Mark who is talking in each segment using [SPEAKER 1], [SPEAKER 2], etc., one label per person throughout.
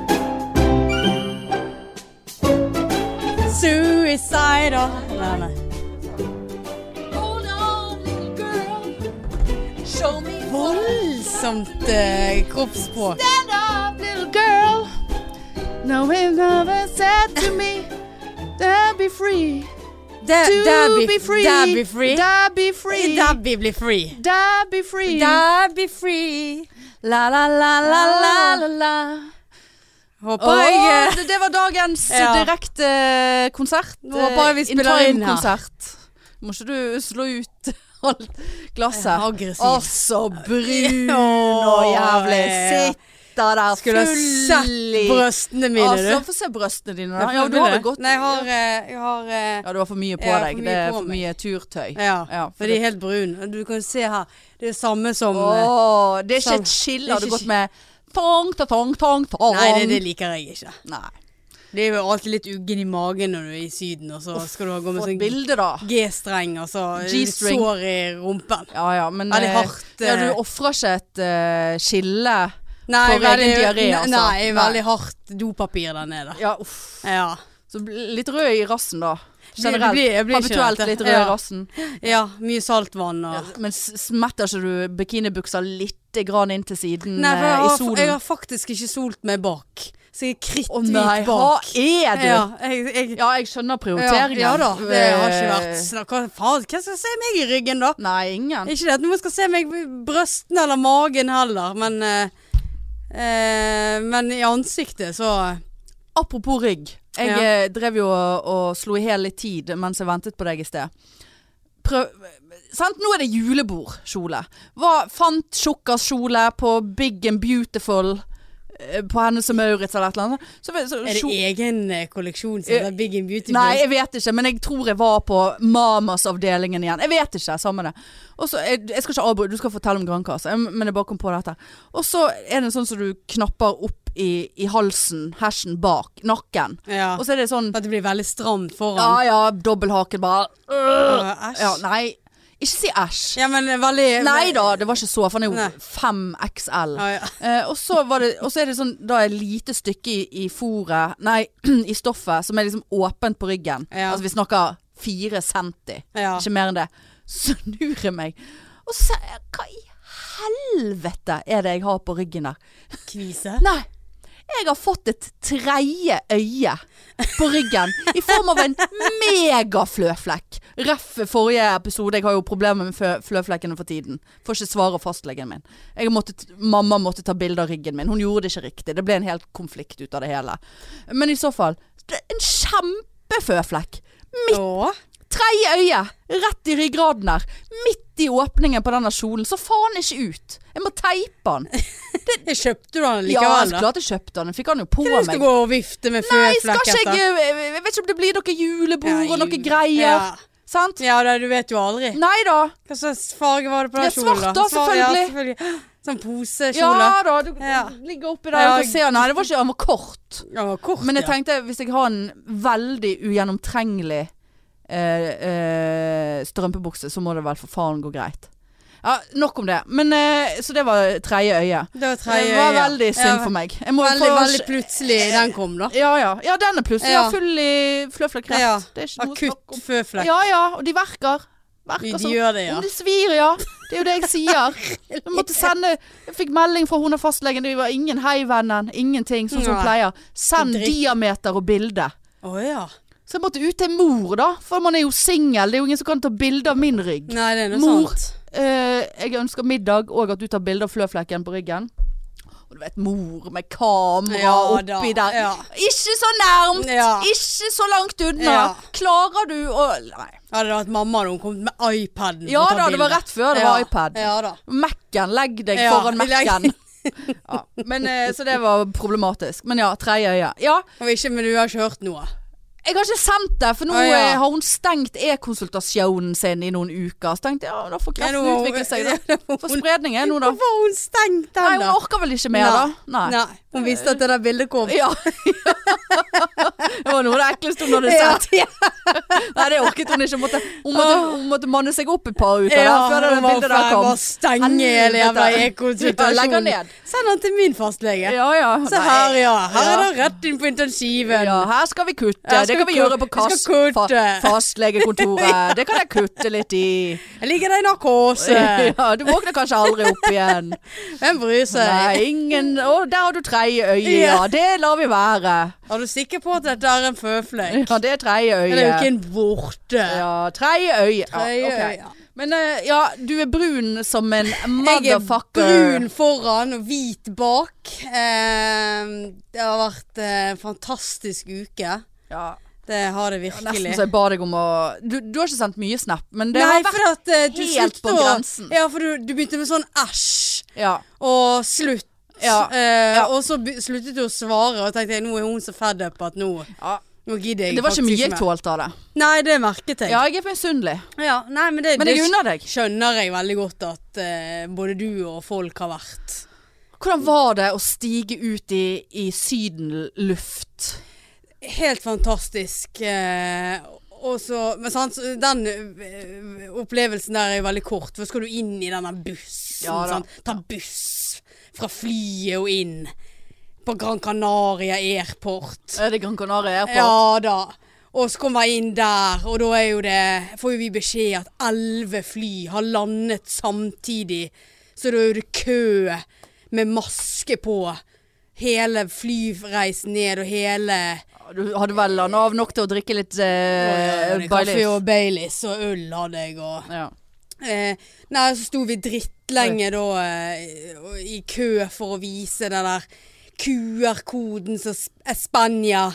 [SPEAKER 1] ah. voldsomt eh, kroppsspråk.
[SPEAKER 2] Stand up, little girl. No one ever said to me, there be free.
[SPEAKER 1] Da-
[SPEAKER 2] To
[SPEAKER 1] Dabby-
[SPEAKER 2] be free.
[SPEAKER 1] Dabby free.
[SPEAKER 2] Da be free.
[SPEAKER 1] Dabby blir free.
[SPEAKER 2] Da be free.
[SPEAKER 1] Dabby free. La, la, la, la, la, la, la. Håper
[SPEAKER 2] Ah. Åh,
[SPEAKER 1] jeg eh,
[SPEAKER 2] det, det var dagens
[SPEAKER 1] Ja.
[SPEAKER 2] direkte eh, konsert.
[SPEAKER 1] Nå håper jeg vi
[SPEAKER 2] Eh,
[SPEAKER 1] spiller inn her.
[SPEAKER 2] konsert. Må ikke du slå ut alt glasset.
[SPEAKER 1] aggressiv.
[SPEAKER 2] Altså, brun
[SPEAKER 1] Åh,
[SPEAKER 2] og jævlig.
[SPEAKER 1] ja.
[SPEAKER 2] Sitter der
[SPEAKER 1] Skulle ha sett
[SPEAKER 2] i-
[SPEAKER 1] brøstene mine,
[SPEAKER 2] Altså,
[SPEAKER 1] du.
[SPEAKER 2] få se brøstene dine.
[SPEAKER 1] Ja,
[SPEAKER 2] Da. Ja, du har
[SPEAKER 1] det.
[SPEAKER 2] det godt.
[SPEAKER 1] Nei, jeg har, eh, jeg har eh,
[SPEAKER 2] Ja, du har for mye på
[SPEAKER 1] Jeg har for
[SPEAKER 2] deg.
[SPEAKER 1] mye
[SPEAKER 2] Det er
[SPEAKER 1] på
[SPEAKER 2] for
[SPEAKER 1] meg.
[SPEAKER 2] mye turtøy.
[SPEAKER 1] Ja,
[SPEAKER 2] Ja, for
[SPEAKER 1] for de er helt brune. Du kan se her. Det er samme som eh,
[SPEAKER 2] Åh, det er Mm. ikke
[SPEAKER 1] Sånn.
[SPEAKER 2] et skille.
[SPEAKER 1] Det er
[SPEAKER 2] Har du
[SPEAKER 1] ikke
[SPEAKER 2] gått med tong, ta tong, tong, tong?
[SPEAKER 1] eh, Nei, det, det liker jeg ikke.
[SPEAKER 2] Nei.
[SPEAKER 1] Det er jo alltid litt uggen i magen når du er i Syden, og så skal du ha gå med
[SPEAKER 2] Få et
[SPEAKER 1] sånn
[SPEAKER 2] bilde, da.
[SPEAKER 1] G-streng, og så er det
[SPEAKER 2] G-string.
[SPEAKER 1] sår i rumpen.
[SPEAKER 2] Ja, ja, men
[SPEAKER 1] Ja, det er
[SPEAKER 2] eh,
[SPEAKER 1] hardt,
[SPEAKER 2] Ja,
[SPEAKER 1] eh.
[SPEAKER 2] du ofrer ikke et eh, skille.
[SPEAKER 1] Nei,
[SPEAKER 2] For egen diaré,
[SPEAKER 1] ne-
[SPEAKER 2] altså.
[SPEAKER 1] Nei,
[SPEAKER 2] Nei.
[SPEAKER 1] veldig hardt dopapir der nede.
[SPEAKER 2] Ja, uff.
[SPEAKER 1] Ja.
[SPEAKER 2] Så bli- litt rød i rassen, da.
[SPEAKER 1] Blir-
[SPEAKER 2] Generelt.
[SPEAKER 1] blir- jeg blir ikke
[SPEAKER 2] Habituelt
[SPEAKER 1] dette.
[SPEAKER 2] litt rød i
[SPEAKER 1] Ja.
[SPEAKER 2] rassen.
[SPEAKER 1] ja. Mye saltvann og
[SPEAKER 2] Men s- smetter ikke du bikinibuksa litt grann inn til siden
[SPEAKER 1] Nei, for jeg
[SPEAKER 2] eh, i
[SPEAKER 1] har,
[SPEAKER 2] solen?
[SPEAKER 1] jeg har faktisk ikke solt meg bak. Så jeg er
[SPEAKER 2] Å
[SPEAKER 1] kritthvit
[SPEAKER 2] nei, hva
[SPEAKER 1] bak.
[SPEAKER 2] er du?
[SPEAKER 1] Ja, jeg, jeg,
[SPEAKER 2] Ja, jeg skjønner
[SPEAKER 1] ja,
[SPEAKER 2] prioriteringen.
[SPEAKER 1] ja da, det har ikke vært
[SPEAKER 2] Eh,
[SPEAKER 1] snakk Hva faen, hvem skal se meg i ryggen, da?
[SPEAKER 2] Nei, ingen.
[SPEAKER 1] Ikke det at noen skal se meg i brøstene eller magen heller, men eh, eh, Men i ansiktet, så
[SPEAKER 2] Apropos rygg. Jeg
[SPEAKER 1] Ja.
[SPEAKER 2] eh, drev jo og, og slo i hel litt tid mens jeg ventet på deg i sted. Prøv Sant, nå er det julebordkjole. Hva- Fant tjukkas kjole på Big and Beautiful eh, på Hennes og Maurits eller et eller annet. Så, så,
[SPEAKER 1] Er det E
[SPEAKER 2] kjo-
[SPEAKER 1] egen eh, kolleksjon som heter Big and Beautiful?
[SPEAKER 2] Nei, jeg vet ikke, men jeg tror jeg var på Mamas-avdelingen igjen. Jeg vet ikke, samme det. Og så, jeg, jeg skal ikke avbryte, du skal fortelle om Grønnkassa, jeg- men jeg bare kom på dette. Og så er det en sånn som du knapper opp i, i halsen, hersen bak, nakken.
[SPEAKER 1] ja.
[SPEAKER 2] Og så er det sånn,
[SPEAKER 1] At det blir veldig stramt foran.
[SPEAKER 2] ja ja, dobbelthaken bare. øh.
[SPEAKER 1] Åh, Æsj.
[SPEAKER 2] Ja, nei, ikke si æsj.
[SPEAKER 1] Ja, men veldig
[SPEAKER 2] Nei da, det var ikke så, for han er
[SPEAKER 1] Nei.
[SPEAKER 2] jo 5XL.
[SPEAKER 1] Ja, ja.
[SPEAKER 2] Eh, og, så var det, og så er det sånn Da er et lite stykke i, i fôret Nei, i stoffet Som er liksom åpent på ryggen
[SPEAKER 1] Ja.
[SPEAKER 2] Altså vi snakker fire centi
[SPEAKER 1] Ja.
[SPEAKER 2] Ikke mer enn det Snur jeg meg Og så Hva i helvete er det jeg har på ryggen der?
[SPEAKER 1] Kvise.
[SPEAKER 2] Nei Jeg har fått et treie øye På ryggen I form av en megafløflekk Reffe forrige episode Jeg har jo problemer med flø- fløflekkene for tiden Får ikke svare fastlegen min jeg måtte, Mamma måtte ta bilde av ryggen min Hun gjorde det ikke riktig Det ble en helt konflikt ut av det hele Men i så fall det er En kjempefløflekk
[SPEAKER 1] Åh.
[SPEAKER 2] Treie øye, rett i ryggraden der Midt i åpningen på denne kjolen Så faen ikke ut Jeg må teipe den
[SPEAKER 1] Jeg kjøpte du den
[SPEAKER 2] Ja,
[SPEAKER 1] likevel,
[SPEAKER 2] så
[SPEAKER 1] da.
[SPEAKER 2] klart jeg kjøpte den Jeg fikk den jo på
[SPEAKER 1] Hva er det du
[SPEAKER 2] meg
[SPEAKER 1] skal gå og vifte med
[SPEAKER 2] Nei, skal
[SPEAKER 1] føflekk
[SPEAKER 2] ikke
[SPEAKER 1] etter?
[SPEAKER 2] jeg eh, Jeg vet ikke om det blir noe julebord
[SPEAKER 1] altså. Ja,
[SPEAKER 2] og noe
[SPEAKER 1] jul-
[SPEAKER 2] greier.
[SPEAKER 1] Ja.
[SPEAKER 2] Sant?
[SPEAKER 1] Ja, det, du vet jo aldri.
[SPEAKER 2] Nei da.
[SPEAKER 1] Hva slags farge var det på
[SPEAKER 2] Ja,
[SPEAKER 1] den kjolen?
[SPEAKER 2] svart da,
[SPEAKER 1] Svar-
[SPEAKER 2] selvfølgelig.
[SPEAKER 1] Ja, selvfølgelig. Sånn
[SPEAKER 2] Ja
[SPEAKER 1] posekjole.
[SPEAKER 2] da. Du,
[SPEAKER 1] Ja.
[SPEAKER 2] du ligger oppi der og
[SPEAKER 1] Ja.
[SPEAKER 2] kan se Nei, det var ikke Han var kort.
[SPEAKER 1] Ja, kort,
[SPEAKER 2] Men jeg
[SPEAKER 1] ja.
[SPEAKER 2] tenkte hvis jeg har en veldig ugjennomtrengelig eh, eh, strømpebukse, så må det vel for faen gå greit. Ja, nok om det. Men, eh, så det var tredje øye.
[SPEAKER 1] Det var tredje
[SPEAKER 2] Det var
[SPEAKER 1] øye.
[SPEAKER 2] veldig synd
[SPEAKER 1] Ja,
[SPEAKER 2] for meg. Jeg må
[SPEAKER 1] Veldig,
[SPEAKER 2] få-
[SPEAKER 1] veldig plutselig den kom, da.
[SPEAKER 2] Ja ja. Ja, den er plutselig
[SPEAKER 1] Ja.
[SPEAKER 2] ja. full i fløflekkreft.
[SPEAKER 1] Ja.
[SPEAKER 2] Det er ikke noe snakk
[SPEAKER 1] Akutt
[SPEAKER 2] om.
[SPEAKER 1] føflekk.
[SPEAKER 2] Ja altså, ja, og de verker.
[SPEAKER 1] De,
[SPEAKER 2] Verker
[SPEAKER 1] de
[SPEAKER 2] som
[SPEAKER 1] gjør det, ja.
[SPEAKER 2] Om det svir, ja. Det er jo det jeg sier. Jeg, måtte sende, jeg fikk melding fra hun og fastlegen. Det var ingen heivennen, ingenting, sånn som
[SPEAKER 1] Nei.
[SPEAKER 2] hun pleier. Send
[SPEAKER 1] Dritt.
[SPEAKER 2] diameter og bilde.
[SPEAKER 1] Å ja.
[SPEAKER 2] Så jeg måtte ut til mor, da. For man er jo singel. Det er jo ingen som kan ta bilde av min rygg.
[SPEAKER 1] Nei, det er noe
[SPEAKER 2] Mor.
[SPEAKER 1] sant.
[SPEAKER 2] Eh, jeg ønsker middag og at du tar bilde av fløflekken på ryggen. Og du vet, mor med kamera
[SPEAKER 1] Ja da,
[SPEAKER 2] oppi der.
[SPEAKER 1] ja.
[SPEAKER 2] Ikke så nærmt!
[SPEAKER 1] Ja.
[SPEAKER 2] Ikke så langt unna!
[SPEAKER 1] Ja.
[SPEAKER 2] Klarer du å Nei.
[SPEAKER 1] Hadde det vært mamma hadde hun kommet med iPaden
[SPEAKER 2] Ja
[SPEAKER 1] og tatt
[SPEAKER 2] da, det var
[SPEAKER 1] bilder.
[SPEAKER 2] rett før det var
[SPEAKER 1] Ja.
[SPEAKER 2] iPad.
[SPEAKER 1] Ja da.
[SPEAKER 2] Mac-en, legg deg
[SPEAKER 1] Ja,
[SPEAKER 2] foran
[SPEAKER 1] legg-
[SPEAKER 2] Mac-en. ja, men, eh, så det var problematisk. Men ja, tredje øye. Ja,
[SPEAKER 1] Og ikke, men du har ikke hørt noe?
[SPEAKER 2] jeg har ikke sendt det, for nå
[SPEAKER 1] Å, ja.
[SPEAKER 2] eh, har hun stengt e-konsultasjonen sin i noen uker. Så tenkte jeg ja, da får
[SPEAKER 1] Ja,
[SPEAKER 2] kreften
[SPEAKER 1] nå-
[SPEAKER 2] utvikle seg.
[SPEAKER 1] Ja,
[SPEAKER 2] Da. For spredning er nå, da.
[SPEAKER 1] Hvorfor har hun stengt
[SPEAKER 2] Nei,
[SPEAKER 1] den,
[SPEAKER 2] hun
[SPEAKER 1] da?
[SPEAKER 2] orker vel ikke mer, da. Nei.
[SPEAKER 1] Nei. Hun viste at det der bildet kom.
[SPEAKER 2] Ja. det var noe av det ekleste hun hadde sett.
[SPEAKER 1] Ja,
[SPEAKER 2] Nei, det orket hun ikke. Hun måtte, hun måtte, hun måtte manne seg opp et par uker
[SPEAKER 1] ja,
[SPEAKER 2] da, før det
[SPEAKER 1] hun var
[SPEAKER 2] bildet der
[SPEAKER 1] ferdig med å
[SPEAKER 2] kom.
[SPEAKER 1] stenge hele jævla
[SPEAKER 2] Helvete. Ja, legg han
[SPEAKER 1] ekokonsultasjonen.
[SPEAKER 2] ned.
[SPEAKER 1] Send han til min fastlege.
[SPEAKER 2] Ja, ja.
[SPEAKER 1] Så
[SPEAKER 2] Nei.
[SPEAKER 1] her, ja. Her er
[SPEAKER 2] Ja.
[SPEAKER 1] det rett inn på intensiven.
[SPEAKER 2] Ja, her skal vi kutte.
[SPEAKER 1] Her skal
[SPEAKER 2] det kan
[SPEAKER 1] vi
[SPEAKER 2] vi,
[SPEAKER 1] kut-
[SPEAKER 2] gjøre på
[SPEAKER 1] vi skal
[SPEAKER 2] kass, fa
[SPEAKER 1] kutte.
[SPEAKER 2] fastlegekontoret. Det kan jeg kutte litt i.
[SPEAKER 1] Jeg ligger der i narkose.
[SPEAKER 2] Ja, du våkner kanskje aldri opp igjen.
[SPEAKER 1] Hvem bryr seg?
[SPEAKER 2] Nei, ingen Å, der har du tredje øye,
[SPEAKER 1] Ja.
[SPEAKER 2] ja. Det lar vi være.
[SPEAKER 1] Er du sikker på at dette er en føflekk?
[SPEAKER 2] Ja, det er tredje
[SPEAKER 1] Men det er jo ikke
[SPEAKER 2] øye.
[SPEAKER 1] en vorte.
[SPEAKER 2] Ja, tredje øye.
[SPEAKER 1] Tredje
[SPEAKER 2] Ja, ok.
[SPEAKER 1] øye.
[SPEAKER 2] Men eh, ja, du er brun som en
[SPEAKER 1] Jeg er
[SPEAKER 2] motherfucker.
[SPEAKER 1] brun foran og hvit bak. Eh, det har vært eh, en fantastisk uke.
[SPEAKER 2] Ja,
[SPEAKER 1] Det har det
[SPEAKER 2] nesten
[SPEAKER 1] virkelig.
[SPEAKER 2] så jeg ba deg om å du, du har ikke sendt mye snap, men det
[SPEAKER 1] Nei,
[SPEAKER 2] har vært
[SPEAKER 1] for at eh, du
[SPEAKER 2] helt på
[SPEAKER 1] sluttet å-
[SPEAKER 2] grensen.
[SPEAKER 1] Ja, for du, du begynte med sånn æsj
[SPEAKER 2] ja.
[SPEAKER 1] og slutt.
[SPEAKER 2] Ja,
[SPEAKER 1] Eh,
[SPEAKER 2] ja.
[SPEAKER 1] Og så be- sluttet du å svare, og tenkte jeg nå er hun så fed up at nå,
[SPEAKER 2] ja.
[SPEAKER 1] nå gidder jeg
[SPEAKER 2] Det var ikke
[SPEAKER 1] faktisk
[SPEAKER 2] mye jeg
[SPEAKER 1] mer.
[SPEAKER 2] tålte av det.
[SPEAKER 1] Nei, det merket jeg.
[SPEAKER 2] Ja, jeg er misunnelig.
[SPEAKER 1] Ja, nei, men det,
[SPEAKER 2] Men jeg
[SPEAKER 1] det
[SPEAKER 2] unner deg.
[SPEAKER 1] skjønner jeg veldig godt at eh, både du og folk har vært.
[SPEAKER 2] Hvordan var det å stige ut i, i sydenluft?
[SPEAKER 1] Helt fantastisk. Eh, og så, men sant, så den eh, opplevelsen der er jo veldig kort. For skal du inn i denne bussen?
[SPEAKER 2] Ja da.
[SPEAKER 1] sant? Ta buss fra flyet og inn. På Gran Canaria Airport.
[SPEAKER 2] Er det Gran Canaria Airport?
[SPEAKER 1] Ja da. Og så kommer jeg inn der, og da er jo det Får jo vi beskjed at elleve fly har landet samtidig. Så da er det kø med maske på. Hele flyreisen ned og hele
[SPEAKER 2] Du hadde vel landa av nok til å drikke litt eh,
[SPEAKER 1] Eh, Kaffe
[SPEAKER 2] Baileys?
[SPEAKER 1] og Baileys og øl hadde jeg og
[SPEAKER 2] Ja.
[SPEAKER 1] eh, Nei, så sto vi drittlenge da eh, og- i kø for å vise den der QR-koden som S- Spania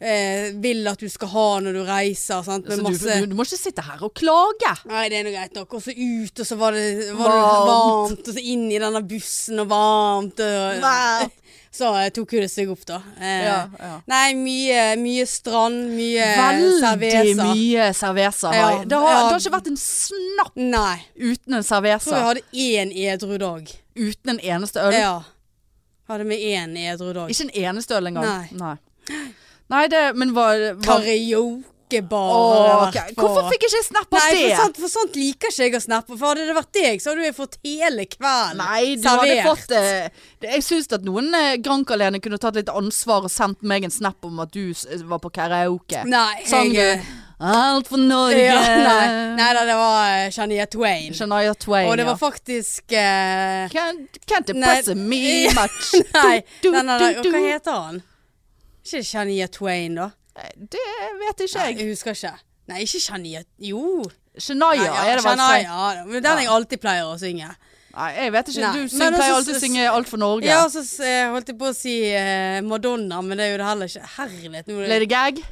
[SPEAKER 1] eh, vil at du skal ha når du reiser. Sant?
[SPEAKER 2] Så
[SPEAKER 1] Med
[SPEAKER 2] du,
[SPEAKER 1] masse
[SPEAKER 2] du, du må ikke sitte her og klage!
[SPEAKER 1] Nei, det er nå greit nok. Og så ut, og så var det, var det
[SPEAKER 2] Varmt.
[SPEAKER 1] varmt. Og så inn i denne bussen og varmt. Og,
[SPEAKER 2] Varmt.
[SPEAKER 1] Så eh, tok jo det seg opp, da. Eh,
[SPEAKER 2] Ja, ja.
[SPEAKER 1] Nei, mye, mye strand, mye
[SPEAKER 2] Veldig
[SPEAKER 1] Eh, cerveza.
[SPEAKER 2] mye cerveser har
[SPEAKER 1] Ja,
[SPEAKER 2] jeg. Det har,
[SPEAKER 1] ja.
[SPEAKER 2] det har ikke vært en snapp
[SPEAKER 1] Nei.
[SPEAKER 2] uten en
[SPEAKER 1] tror jeg
[SPEAKER 2] cerveser.
[SPEAKER 1] hadde én edru dag.
[SPEAKER 2] Uten en eneste øl.
[SPEAKER 1] Ja. Hadde med én edru dag.
[SPEAKER 2] Ikke en eneste øl engang.
[SPEAKER 1] Nei.
[SPEAKER 2] Nei. Nei, det Men var, var
[SPEAKER 1] Karaokebar.
[SPEAKER 2] Åh,
[SPEAKER 1] har
[SPEAKER 2] ok.
[SPEAKER 1] jeg vært på.
[SPEAKER 2] Hvorfor fikk jeg ikke snapp av
[SPEAKER 1] Nei,
[SPEAKER 2] det?
[SPEAKER 1] for sånt, for sånt liker ikke jeg å snappe. For hadde det vært deg, så hadde du fått hele kvelden
[SPEAKER 2] Nei, du hadde fått eh, det- Jeg syns at noen eh, Grank-alene kunne tatt litt ansvar og sendt meg en snap om at du s- eh, var på karaoke.
[SPEAKER 1] Nei,
[SPEAKER 2] Sang
[SPEAKER 1] jeg,
[SPEAKER 2] du Alt for Sånn, Norge.
[SPEAKER 1] ja, nei, nei da, det var eh, Shania Twain.
[SPEAKER 2] Shania Twain.
[SPEAKER 1] Og det var
[SPEAKER 2] ja.
[SPEAKER 1] faktisk eh,
[SPEAKER 2] Can't, can't
[SPEAKER 1] Nei.
[SPEAKER 2] impress me much.
[SPEAKER 1] Nei,
[SPEAKER 2] Du, du,
[SPEAKER 1] nei, nei, nei,
[SPEAKER 2] du,
[SPEAKER 1] hva
[SPEAKER 2] du.
[SPEAKER 1] heter han? Ikke Shania Twain, da?
[SPEAKER 2] Nei, Eh, Det vet ikke
[SPEAKER 1] Nei,
[SPEAKER 2] jeg.
[SPEAKER 1] jeg husker ikke. Nei, ikke Shania Jo.
[SPEAKER 2] Shania er det vel
[SPEAKER 1] Shania,
[SPEAKER 2] som-
[SPEAKER 1] ja, men den jeg alltid pleier å synge.
[SPEAKER 2] Nei, jeg vet ikke.
[SPEAKER 1] Nei,
[SPEAKER 2] Du
[SPEAKER 1] men
[SPEAKER 2] syng, pleier
[SPEAKER 1] også
[SPEAKER 2] alltid å
[SPEAKER 1] s-
[SPEAKER 2] synge Alt for Norge.
[SPEAKER 1] Ja, så s- eh, holdt jeg på å si eh, Madonna, men det er jo det heller ikke. Herlighet. Nå,
[SPEAKER 2] Lady Gag.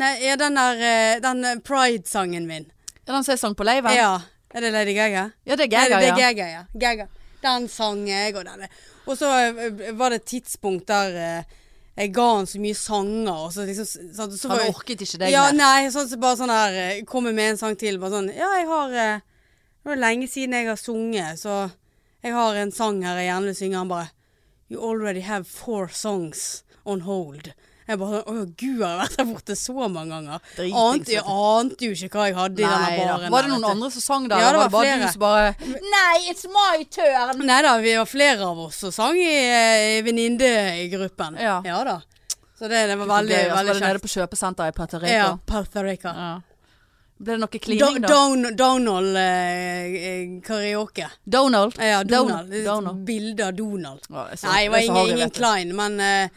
[SPEAKER 1] nei, er den der eh, den eh, Pride-sangen min.
[SPEAKER 2] Er den som jeg sang på leiven?
[SPEAKER 1] Ja. Er det Lady Gaga?
[SPEAKER 2] Ja,
[SPEAKER 1] Nei,
[SPEAKER 2] det er Gaga,
[SPEAKER 1] det er
[SPEAKER 2] ja.
[SPEAKER 1] Gaga, ja. Gaga. Den sang jeg, og den Og så eh, var det et tidspunkt der eh, jeg ga han så mye sanger, og så liksom s- sånn, så var
[SPEAKER 2] Han
[SPEAKER 1] jeg-
[SPEAKER 2] orket ikke deg
[SPEAKER 1] ja,
[SPEAKER 2] mer.
[SPEAKER 1] Nei, sånn, så bare sånn her eh, Kommer med en sang til, bare sånn Ja, jeg har eh, Det var lenge siden jeg har sunget, så jeg har en sang her jeg gjerne vil synge. Han bare You already have four songs on hold. Jeg bare sånn Å gud, jeg har vært der borte så mange ganger.
[SPEAKER 2] Dritings,
[SPEAKER 1] Ante,
[SPEAKER 2] vet
[SPEAKER 1] jeg ante jo ikke hva jeg hadde i
[SPEAKER 2] Nei
[SPEAKER 1] denne
[SPEAKER 2] da.
[SPEAKER 1] baren.
[SPEAKER 2] Var det
[SPEAKER 1] der,
[SPEAKER 2] noen
[SPEAKER 1] vet du.
[SPEAKER 2] andre som sang der?
[SPEAKER 1] Ja,
[SPEAKER 2] eller
[SPEAKER 1] det var
[SPEAKER 2] var det bare
[SPEAKER 1] flere.
[SPEAKER 2] du som bare Nei, it's my turn!
[SPEAKER 1] Nei da, vi var flere av oss som sang i, eh, i venninnegruppen.
[SPEAKER 2] Ja.
[SPEAKER 1] da. Så det, det var veldig,
[SPEAKER 2] Veldig, gøy, altså,
[SPEAKER 1] veldig
[SPEAKER 2] var det nede
[SPEAKER 1] kjekt.
[SPEAKER 2] på kjøpesenteret i Puerto Rico.
[SPEAKER 1] Ja, Puerto Rico.
[SPEAKER 2] Ja. Ble det noe
[SPEAKER 1] Do,
[SPEAKER 2] klining, da?
[SPEAKER 1] Don, Donald eh, eh, karaoke.
[SPEAKER 2] Donald?
[SPEAKER 1] Ja, Donald.
[SPEAKER 2] Donald.
[SPEAKER 1] Det er et
[SPEAKER 2] Donald.
[SPEAKER 1] Bilde av Donald.
[SPEAKER 2] Ja, jeg så-
[SPEAKER 1] Nei, det var
[SPEAKER 2] er så
[SPEAKER 1] ingen,
[SPEAKER 2] harry,
[SPEAKER 1] ingen
[SPEAKER 2] vet du.
[SPEAKER 1] Klein, men eh,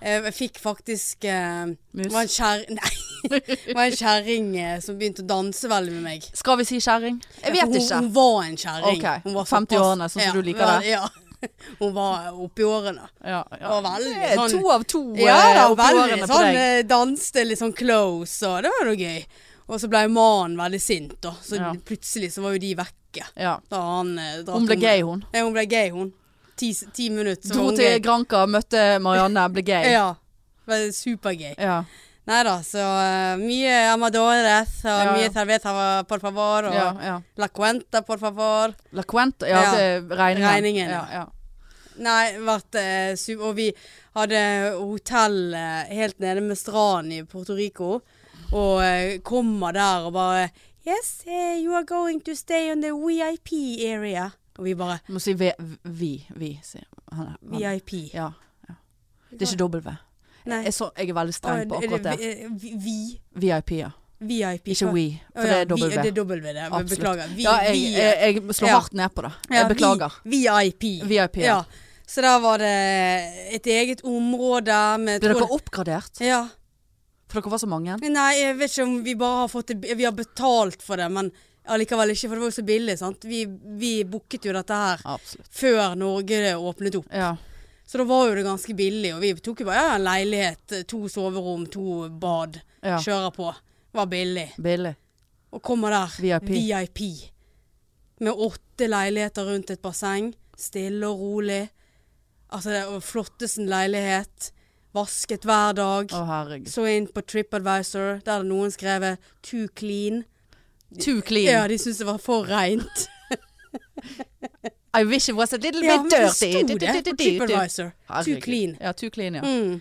[SPEAKER 1] eh, jeg fikk faktisk eh,
[SPEAKER 2] Mus.
[SPEAKER 1] var en kjær... Nei. det var en kjerring eh, som begynte å danse veldig med meg.
[SPEAKER 2] Skal vi si kjerring? Jeg
[SPEAKER 1] Ja, for
[SPEAKER 2] vet
[SPEAKER 1] hun,
[SPEAKER 2] ikke.
[SPEAKER 1] Hun var en kjerring.
[SPEAKER 2] Ok,
[SPEAKER 1] Hun var
[SPEAKER 2] 50
[SPEAKER 1] såpass-
[SPEAKER 2] årene, sånn som du liker
[SPEAKER 1] vel,
[SPEAKER 2] det.
[SPEAKER 1] Ja. Hun var oppi årene.
[SPEAKER 2] Ja,
[SPEAKER 1] Hun var veldig
[SPEAKER 2] Det er
[SPEAKER 1] sånn-
[SPEAKER 2] To av to
[SPEAKER 1] Ja
[SPEAKER 2] eh,
[SPEAKER 1] da,
[SPEAKER 2] oppi årene
[SPEAKER 1] veldig
[SPEAKER 2] på
[SPEAKER 1] sånn
[SPEAKER 2] deg.
[SPEAKER 1] eh, danste litt sånn close, og det var jo gøy. Og så ble mannen veldig sint, da. Så
[SPEAKER 2] Ja.
[SPEAKER 1] plutselig så var jo de vekke.
[SPEAKER 2] Ja.
[SPEAKER 1] Da han eh, dratt
[SPEAKER 2] Hun ble
[SPEAKER 1] om-
[SPEAKER 2] gay, hun.
[SPEAKER 1] Nei, hun ble gay, hun. Ti, s- ti minutter, så
[SPEAKER 2] Dro
[SPEAKER 1] var hun
[SPEAKER 2] til
[SPEAKER 1] gay.
[SPEAKER 2] Granca, møtte Marianne, ble gay.
[SPEAKER 1] Ja. Ble Supergay.
[SPEAKER 2] Ja.
[SPEAKER 1] Nei da, så eh, mye amadores, og
[SPEAKER 2] Ja, ja.
[SPEAKER 1] mye cerveza, por favor, og
[SPEAKER 2] ja, ja.
[SPEAKER 1] la cuenta, por favor.
[SPEAKER 2] La Cuenta Ja,
[SPEAKER 1] Ja.
[SPEAKER 2] det er regningen.
[SPEAKER 1] Regningen,
[SPEAKER 2] Ja,
[SPEAKER 1] ja.
[SPEAKER 2] ja.
[SPEAKER 1] Nei, vært eh, su- Og vi hadde hotell eh, helt nede med stranden i Puerto Rico. Og eh, kommer der og bare Yes, eh, you are going to stay on the VIP area. Og vi bare
[SPEAKER 2] Du må si vi, vi, vi sier han. han-
[SPEAKER 1] VIP.
[SPEAKER 2] Ja, ja. Det er ikke W.
[SPEAKER 1] Nei.
[SPEAKER 2] Jeg, er så, jeg er veldig
[SPEAKER 1] Å,
[SPEAKER 2] streng på
[SPEAKER 1] er det
[SPEAKER 2] akkurat det.
[SPEAKER 1] vi- eh, Vi. vi-
[SPEAKER 2] VIP, ja.
[SPEAKER 1] VIP.
[SPEAKER 2] Ikke
[SPEAKER 1] hva?
[SPEAKER 2] we,
[SPEAKER 1] Å,
[SPEAKER 2] for
[SPEAKER 1] ja,
[SPEAKER 2] det er
[SPEAKER 1] vi- Det
[SPEAKER 2] W.
[SPEAKER 1] er dobbelt det. men
[SPEAKER 2] Absolutt.
[SPEAKER 1] Beklager. Vi,
[SPEAKER 2] Ja, jeg,
[SPEAKER 1] vi, eh,
[SPEAKER 2] jeg, jeg slår
[SPEAKER 1] ja.
[SPEAKER 2] hardt ned på det.
[SPEAKER 1] Ja,
[SPEAKER 2] Jeg beklager.
[SPEAKER 1] Vi, VIP.
[SPEAKER 2] VIP. Ja.
[SPEAKER 1] Ja. Så der var det et eget område med
[SPEAKER 2] Ble
[SPEAKER 1] tror
[SPEAKER 2] dere
[SPEAKER 1] det-
[SPEAKER 2] oppgradert?
[SPEAKER 1] Ja.
[SPEAKER 2] For dere var så mange.
[SPEAKER 1] Nei, jeg vet ikke om vi bare har fått det Vi har betalt for det, men allikevel ikke, for det var jo så billig, sant. Vi, vi booket jo dette her
[SPEAKER 2] Absolutt.
[SPEAKER 1] før Norge åpnet opp.
[SPEAKER 2] Ja.
[SPEAKER 1] Så da var jo det ganske billig, og vi tok jo bare ja, en leilighet, to soverom, to bad.
[SPEAKER 2] ja.
[SPEAKER 1] Kjører på. Var billig.
[SPEAKER 2] Billig.
[SPEAKER 1] Og kommer der.
[SPEAKER 2] VIP.
[SPEAKER 1] VIP. Med åtte leiligheter rundt et basseng. Stille og rolig. Altså, det var flottesten leilighet. Vasket hver dag.
[SPEAKER 2] Å, herregud.
[SPEAKER 1] Så inn på TripAdvisor, der hadde noen skrevet 'too clean'.
[SPEAKER 2] Too clean.
[SPEAKER 1] Ja, de syntes det var for rent.
[SPEAKER 2] I wish it was a little
[SPEAKER 1] Ja, men
[SPEAKER 2] bit
[SPEAKER 1] det
[SPEAKER 2] dirty.
[SPEAKER 1] sto det på TripAdvisor.
[SPEAKER 2] Herregud.
[SPEAKER 1] Too clean.
[SPEAKER 2] Ja, too clean, ja.
[SPEAKER 1] Mm.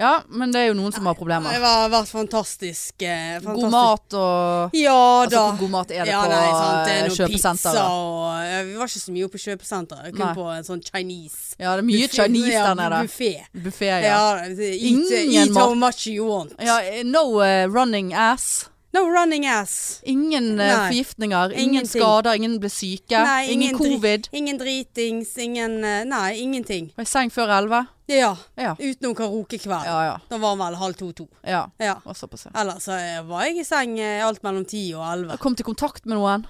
[SPEAKER 2] Ja, men det er jo noen som har problemer.
[SPEAKER 1] Det var, var fantastisk. eh, fantastisk.
[SPEAKER 2] God mat og
[SPEAKER 1] Ja
[SPEAKER 2] Altså,
[SPEAKER 1] da.
[SPEAKER 2] hvor god mat er det
[SPEAKER 1] ja,
[SPEAKER 2] på
[SPEAKER 1] nei, sant, det er
[SPEAKER 2] eh,
[SPEAKER 1] noe
[SPEAKER 2] kjøpesenteret?
[SPEAKER 1] Pizza og, ja, vi var ikke så mye oppe i kjøpesenteret. Kun
[SPEAKER 2] Nei.
[SPEAKER 1] på en sånn Chinese.
[SPEAKER 2] Ja, det er mye Chinese der nede.
[SPEAKER 1] Buffé.
[SPEAKER 2] Buffé,
[SPEAKER 1] Ja,
[SPEAKER 2] ja.
[SPEAKER 1] eat,
[SPEAKER 2] Ingen
[SPEAKER 1] eat
[SPEAKER 2] mat.
[SPEAKER 1] how much you want.
[SPEAKER 2] ja eh, no eh, running ass.
[SPEAKER 1] No running ass.
[SPEAKER 2] Ingen eh,
[SPEAKER 1] Nei.
[SPEAKER 2] forgiftninger, ingen
[SPEAKER 1] Ingenting.
[SPEAKER 2] skader, ingen ble syke.
[SPEAKER 1] Nei,
[SPEAKER 2] ingen,
[SPEAKER 1] dri-
[SPEAKER 2] covid.
[SPEAKER 1] Ingen dritings, ingen eh, Nei, ingenting.
[SPEAKER 2] Var i seng før elleve.
[SPEAKER 1] Ja.
[SPEAKER 2] Ja.
[SPEAKER 1] Utenom karaokekveld.
[SPEAKER 2] Ja, ja.
[SPEAKER 1] Da var han vel halv to-to.
[SPEAKER 2] ja.
[SPEAKER 1] Ja.
[SPEAKER 2] Og såpass, ja.
[SPEAKER 1] Ellers så eh, var jeg i seng eh, alt mellom ti og elleve.
[SPEAKER 2] Jeg Kom til kontakt med noen.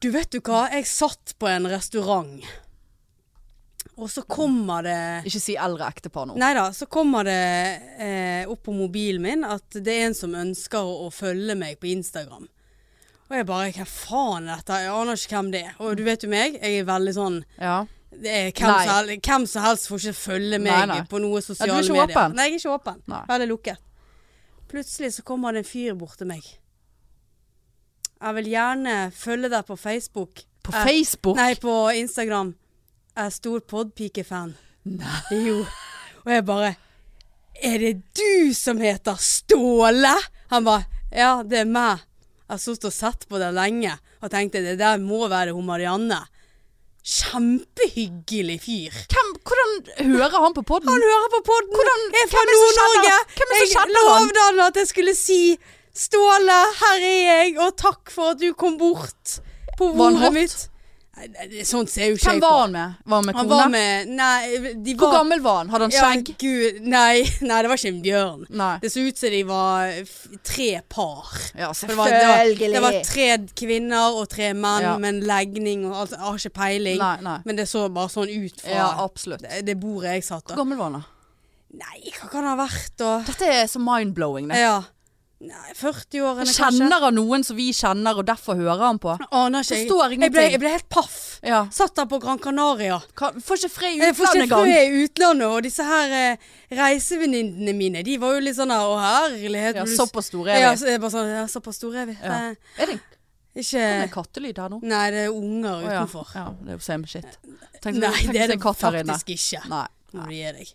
[SPEAKER 1] Du vet du hva, jeg satt på en restaurant, og så kommer det
[SPEAKER 2] Ikke si eldre ektepar nå.
[SPEAKER 1] Nei da, så kommer det eh, opp på mobilen min at det er en som ønsker å, å følge meg på Instagram. Og jeg bare Hva faen er dette? Jeg aner ikke hvem det er. Og du vet jo meg, jeg er veldig sånn
[SPEAKER 2] Ja.
[SPEAKER 1] det er hvem,
[SPEAKER 2] Nei.
[SPEAKER 1] som helst, hvem som helst får ikke følge meg
[SPEAKER 2] Nei, nei.
[SPEAKER 1] på noe sosiale
[SPEAKER 2] ikke
[SPEAKER 1] medier.
[SPEAKER 2] åpen?
[SPEAKER 1] Nei, jeg er ikke åpen.
[SPEAKER 2] Nei.
[SPEAKER 1] Veldig lukket. Plutselig så kommer det en fyr bort til meg. Jeg vil gjerne følge deg på Facebook.
[SPEAKER 2] På
[SPEAKER 1] Eh,
[SPEAKER 2] Facebook?
[SPEAKER 1] Nei, på Instagram. Jeg er stor podpikefan. Nei. Jo. Og jeg bare Er det du som heter Ståle? Han bare Ja, det er meg. Jeg har sittet og sett på det lenge og tenkte det der må være hun Marianne. Kjempehyggelig fyr.
[SPEAKER 2] Hvem, hvordan hører han på podden?
[SPEAKER 1] Han hører på podden.
[SPEAKER 2] Hvordan-
[SPEAKER 1] jeg er fra
[SPEAKER 2] hvem er det som kjenner-
[SPEAKER 1] Nord-Norge.
[SPEAKER 2] hvem er det som
[SPEAKER 1] Jeg
[SPEAKER 2] kjenner han?
[SPEAKER 1] lovde han at jeg skulle si Ståle, her er jeg, og takk for at du kom bort på
[SPEAKER 2] Var han
[SPEAKER 1] bordet
[SPEAKER 2] hot?
[SPEAKER 1] mitt. Nei, nei, det- Sånt ser jo ikke
[SPEAKER 2] Hvem
[SPEAKER 1] jeg
[SPEAKER 2] var
[SPEAKER 1] på.
[SPEAKER 2] han med? Var han med
[SPEAKER 1] Han
[SPEAKER 2] kone?
[SPEAKER 1] var med Nei, de var
[SPEAKER 2] Hvor gammel var han? Hadde han
[SPEAKER 1] Ja,
[SPEAKER 2] skjegg?
[SPEAKER 1] Gud, nei, nei, det var ikke en bjørn.
[SPEAKER 2] Nei.
[SPEAKER 1] Det så ut som de var f- tre par.
[SPEAKER 2] Ja,
[SPEAKER 1] For Det var, det, var, det var tre kvinner og tre menn
[SPEAKER 2] Ja.
[SPEAKER 1] med en legning og alt. Jeg har ikke peiling.
[SPEAKER 2] Nei, nei.
[SPEAKER 1] Men det så bare sånn ut fra
[SPEAKER 2] Ja, absolutt.
[SPEAKER 1] det, det bordet jeg satt da.
[SPEAKER 2] Hvor gammel var han da?
[SPEAKER 1] Nei, hva kan det ha vært da?
[SPEAKER 2] Dette er så mind-blowing. det.
[SPEAKER 1] Ja. Nei, 40-årene Eh, kanskje?
[SPEAKER 2] Kjenner han noen som vi kjenner, og derfor hører han på?
[SPEAKER 1] Aner ikke. Jeg-
[SPEAKER 2] Forstår
[SPEAKER 1] jeg ble,
[SPEAKER 2] ingenting.
[SPEAKER 1] jeg ble helt paff.
[SPEAKER 2] Ja.
[SPEAKER 1] Satt der på Gran Canaria.
[SPEAKER 2] Kan, får ikke fred i
[SPEAKER 1] Eh, Jeg får ikke
[SPEAKER 2] utlandet
[SPEAKER 1] frø
[SPEAKER 2] engang.
[SPEAKER 1] i utlandet, og disse her eh, reisevenninnene mine, de var jo litt sånn her, å herlighet.
[SPEAKER 2] Ja,
[SPEAKER 1] vil du s-
[SPEAKER 2] såpass store
[SPEAKER 1] Ja,
[SPEAKER 2] er vi.
[SPEAKER 1] så jeg bare sånn, ja, såpass store er vi.
[SPEAKER 2] Ja.
[SPEAKER 1] Eh,
[SPEAKER 2] Er det
[SPEAKER 1] Ikke,
[SPEAKER 2] er det en kattelyd her nå?
[SPEAKER 1] nei, det er unger
[SPEAKER 2] Å ja.
[SPEAKER 1] Eh, mm, utenfor.
[SPEAKER 2] ja. Det er jo same shit. Tenk,
[SPEAKER 1] Nei,
[SPEAKER 2] tenk
[SPEAKER 1] det
[SPEAKER 2] hvis
[SPEAKER 1] er det
[SPEAKER 2] en katt her inne.
[SPEAKER 1] faktisk ikke.
[SPEAKER 2] Nei.
[SPEAKER 1] Må du gi deg.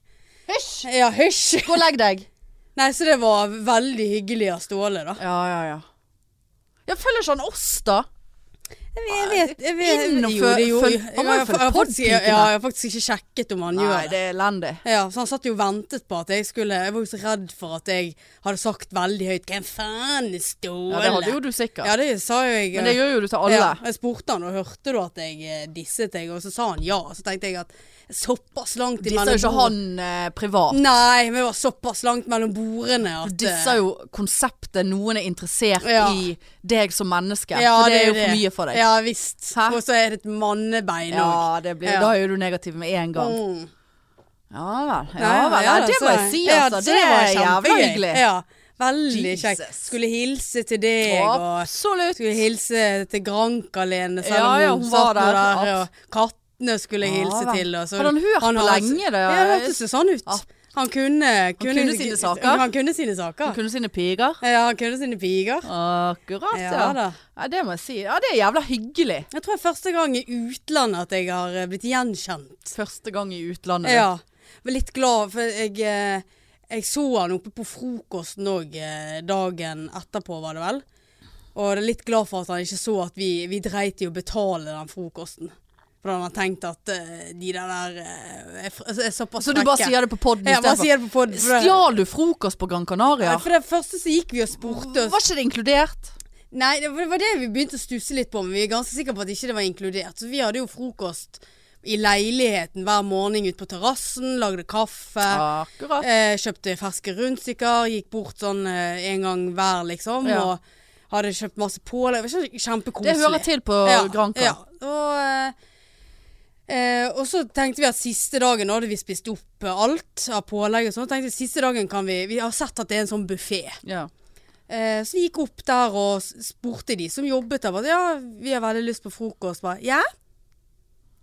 [SPEAKER 2] Hysj!
[SPEAKER 1] Ja, hysj.
[SPEAKER 2] Gå og legg deg.
[SPEAKER 1] Nei, så det var veldig hyggelig av Ståle da.
[SPEAKER 2] Ja, ja, ja. Jeg følger ikke han oss, da?
[SPEAKER 1] Jeg vet, jeg vet.
[SPEAKER 2] Inn og
[SPEAKER 1] jo,
[SPEAKER 2] føl-
[SPEAKER 1] det gjorde-
[SPEAKER 2] føl-
[SPEAKER 1] jo,
[SPEAKER 2] han må jo
[SPEAKER 1] jeg-
[SPEAKER 2] følge
[SPEAKER 1] jeg har faktisk-
[SPEAKER 2] podpikene.
[SPEAKER 1] Ja, jeg har faktisk ikke sjekket om han gjør
[SPEAKER 2] Nei,
[SPEAKER 1] det.
[SPEAKER 2] det er elendig.
[SPEAKER 1] Ja, så han satt jo og ventet på at jeg skulle Jeg var jo så redd for at jeg hadde sagt veldig høyt Hvem faen er Ståle?
[SPEAKER 2] Ja, det hadde jo du sikkert.
[SPEAKER 1] Ja, det sa jo jeg. eh,
[SPEAKER 2] Men det gjør jo du til alle.
[SPEAKER 1] Ja, jeg spurte han, og hørte du at jeg eh, disset deg, og så sa han ja. Og så tenkte jeg at såpass langt
[SPEAKER 2] Disser jo ikke han eh,
[SPEAKER 1] Mm,
[SPEAKER 2] privat.
[SPEAKER 1] Nei, men det var såpass langt mellom bordene at eh,
[SPEAKER 2] Disser jo konseptet noen er interessert
[SPEAKER 1] Ja.
[SPEAKER 2] i deg som menneske.
[SPEAKER 1] eh, ja,
[SPEAKER 2] for det er jo
[SPEAKER 1] det.
[SPEAKER 2] for mye for deg.
[SPEAKER 1] Ja visst.
[SPEAKER 2] Hæ?
[SPEAKER 1] Og så er det et mannebein
[SPEAKER 2] Ja,
[SPEAKER 1] òg.
[SPEAKER 2] det blir,
[SPEAKER 1] Ja.
[SPEAKER 2] da er jo du negativ med en gang.
[SPEAKER 1] Mm.
[SPEAKER 2] Ja vel. Ja,
[SPEAKER 1] Nei,
[SPEAKER 2] vel.
[SPEAKER 1] ja,
[SPEAKER 2] Nei, det
[SPEAKER 1] så-
[SPEAKER 2] må jeg si,
[SPEAKER 1] ja,
[SPEAKER 2] altså. det var jævla
[SPEAKER 1] kjempegøy.
[SPEAKER 2] hyggelig.
[SPEAKER 1] Ja, veldig kjekt.
[SPEAKER 2] Jesus.
[SPEAKER 1] Skulle hilse til deg og
[SPEAKER 2] Absolutt.
[SPEAKER 1] Skulle hilse til Grankalene, selv
[SPEAKER 2] Ja,
[SPEAKER 1] om
[SPEAKER 2] ja,
[SPEAKER 1] hun,
[SPEAKER 2] hun var
[SPEAKER 1] satt nå
[SPEAKER 2] der,
[SPEAKER 1] der. Og kattene skulle jeg
[SPEAKER 2] Ja,
[SPEAKER 1] hilse
[SPEAKER 2] vel.
[SPEAKER 1] til. Og så,
[SPEAKER 2] Hadde han hørt på
[SPEAKER 1] har-
[SPEAKER 2] lenge, det?
[SPEAKER 1] Ja, det hørtes jo sånn ut.
[SPEAKER 2] Ja,
[SPEAKER 1] Han kunne
[SPEAKER 2] kunne sine saker.
[SPEAKER 1] Han kunne sine saker.
[SPEAKER 2] Hun kunne sine piger.
[SPEAKER 1] Ja, han kunne sine piger.
[SPEAKER 2] Akkurat,
[SPEAKER 1] Ja
[SPEAKER 2] ja.
[SPEAKER 1] da.
[SPEAKER 2] ja. Det må jeg si. Ja, det er jævla hyggelig.
[SPEAKER 1] Jeg tror det er første gang i utlandet at jeg har eh, blitt gjenkjent.
[SPEAKER 2] Første gang i utlandet.
[SPEAKER 1] Ja. Jeg var litt glad, for jeg, eh, jeg så han oppe på frokosten òg dagen etterpå, var det vel. Og jeg er litt glad for at han ikke så at vi, vi dreit i å betale den frokosten. For han har tenkt at eh, de der der eh, er, fr- er såpass
[SPEAKER 2] Så du bare sier det på poden
[SPEAKER 1] Ja, bare sier det på podden, for det-
[SPEAKER 2] Stjal du frokost på Gran Canaria?
[SPEAKER 1] Nei, For det første så gikk vi og spurte oss
[SPEAKER 2] Var ikke det inkludert?
[SPEAKER 1] Nei, det var det var det vi begynte å stusse litt på, men vi er ganske sikre på at ikke det var inkludert. Så vi hadde jo frokost i leiligheten hver morgen ute på terrassen, lagde kaffe.
[SPEAKER 2] Akkurat.
[SPEAKER 1] Eh, kjøpte ferske rundstykker, gikk bort sånn eh, en gang hver, liksom.
[SPEAKER 2] Ja.
[SPEAKER 1] Og hadde kjøpt masse pålegg. Det var ikke Kjempekoselig.
[SPEAKER 2] Det hører til på Granca.
[SPEAKER 1] Ja. Og, eh, eh, og så tenkte vi at siste dagen, da hadde vi spist opp eh, alt av pålegg og sånn, tenkte vi siste dagen kan vi Vi har sett at det er en sånn buffé.
[SPEAKER 2] Ja.
[SPEAKER 1] Eh, så vi gikk opp der og s- spurte de som jobbet der. bare, Ja, vi har veldig lyst på frokost. Bare, ja?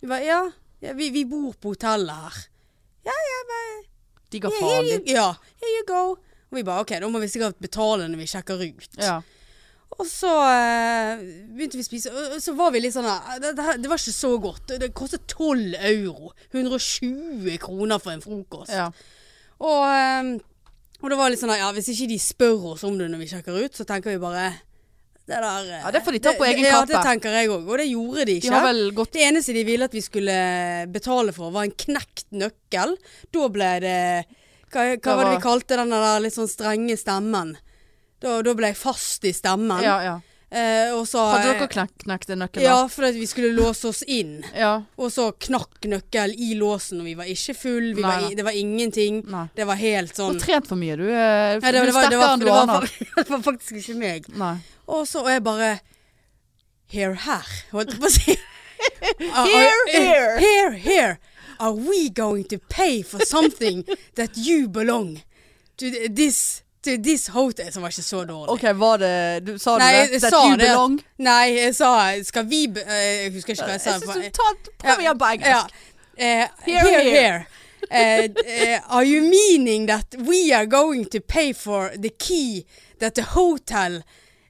[SPEAKER 1] Vi bare, ja, ja vi, vi bor på hotellet her.
[SPEAKER 2] De ga
[SPEAKER 1] Here
[SPEAKER 2] faen.
[SPEAKER 1] you,
[SPEAKER 2] de.
[SPEAKER 1] ja, here you go. Og vi bare OK, da må vi sikkert betale når vi sjekker ut.
[SPEAKER 2] Ja.
[SPEAKER 1] Og så eh, begynte vi å spise, og og så var vi litt sånn eh, det, det, her- det var ikke så godt. Det- Det kostet 12 euro. 120 kroner for en frokost.
[SPEAKER 2] ja.
[SPEAKER 1] Og, ehm, og det var litt sånn at ja, hvis ikke de spør oss om det når vi sjekker ut, så tenker vi bare Det der eh,
[SPEAKER 2] Ja, det får de ta på egen
[SPEAKER 1] Ja,
[SPEAKER 2] kappe.
[SPEAKER 1] det tenker jeg òg. Og det gjorde de
[SPEAKER 2] De
[SPEAKER 1] ikke.
[SPEAKER 2] har vel gått
[SPEAKER 1] Det eneste de ville at vi skulle betale for, var en knekt nøkkel. Da ble det Hva, hva var det
[SPEAKER 2] var-
[SPEAKER 1] de kalte den der litt sånn strenge stemmen? Da, da ble jeg fast i stemmen.
[SPEAKER 2] ja, ja.
[SPEAKER 1] Eh, og så
[SPEAKER 2] Hadde dere knek knekt den nøkkelen?
[SPEAKER 1] Ja, for at vi skulle låse oss inn.
[SPEAKER 2] ja.
[SPEAKER 1] Og så knakk nøkkel i låsen, og vi var ikke full, vi
[SPEAKER 2] Nei,
[SPEAKER 1] var,
[SPEAKER 2] nei.
[SPEAKER 1] i- det var ingenting.
[SPEAKER 2] Nei.
[SPEAKER 1] Det var helt
[SPEAKER 2] Du
[SPEAKER 1] sånn
[SPEAKER 2] har trent for mye, du.
[SPEAKER 1] Nei,
[SPEAKER 2] eh,
[SPEAKER 1] det,
[SPEAKER 2] du
[SPEAKER 1] det,
[SPEAKER 2] er
[SPEAKER 1] var, det,
[SPEAKER 2] sterkere
[SPEAKER 1] var,
[SPEAKER 2] enn
[SPEAKER 1] det,
[SPEAKER 2] du
[SPEAKER 1] var,
[SPEAKER 2] aner.
[SPEAKER 1] det var faktisk ikke meg.
[SPEAKER 2] Nei.
[SPEAKER 1] Og så er jeg bare Here, her, holdt jeg på å si. Are-
[SPEAKER 2] Here,
[SPEAKER 1] are-
[SPEAKER 2] here.
[SPEAKER 1] Here, here. Are we going to pay for something that you belong to this, to this hotel? Som var ikke så dårlig.
[SPEAKER 2] OK, var det du, Sa
[SPEAKER 1] Nei,
[SPEAKER 2] du
[SPEAKER 1] jeg
[SPEAKER 2] det? That
[SPEAKER 1] sa
[SPEAKER 2] you
[SPEAKER 1] det at-
[SPEAKER 2] belong?
[SPEAKER 1] Nei, jeg sa Skal vi be- eh, Jeg husker ikke hva
[SPEAKER 2] Jeg
[SPEAKER 1] jeg sa.
[SPEAKER 2] synes du tar Prøv igjen på engelsk.
[SPEAKER 1] Ja. Eh,
[SPEAKER 2] Here,
[SPEAKER 1] here,
[SPEAKER 2] here.
[SPEAKER 1] here. Eh, eh, are you meaning that we are going to pay for the key that the hotel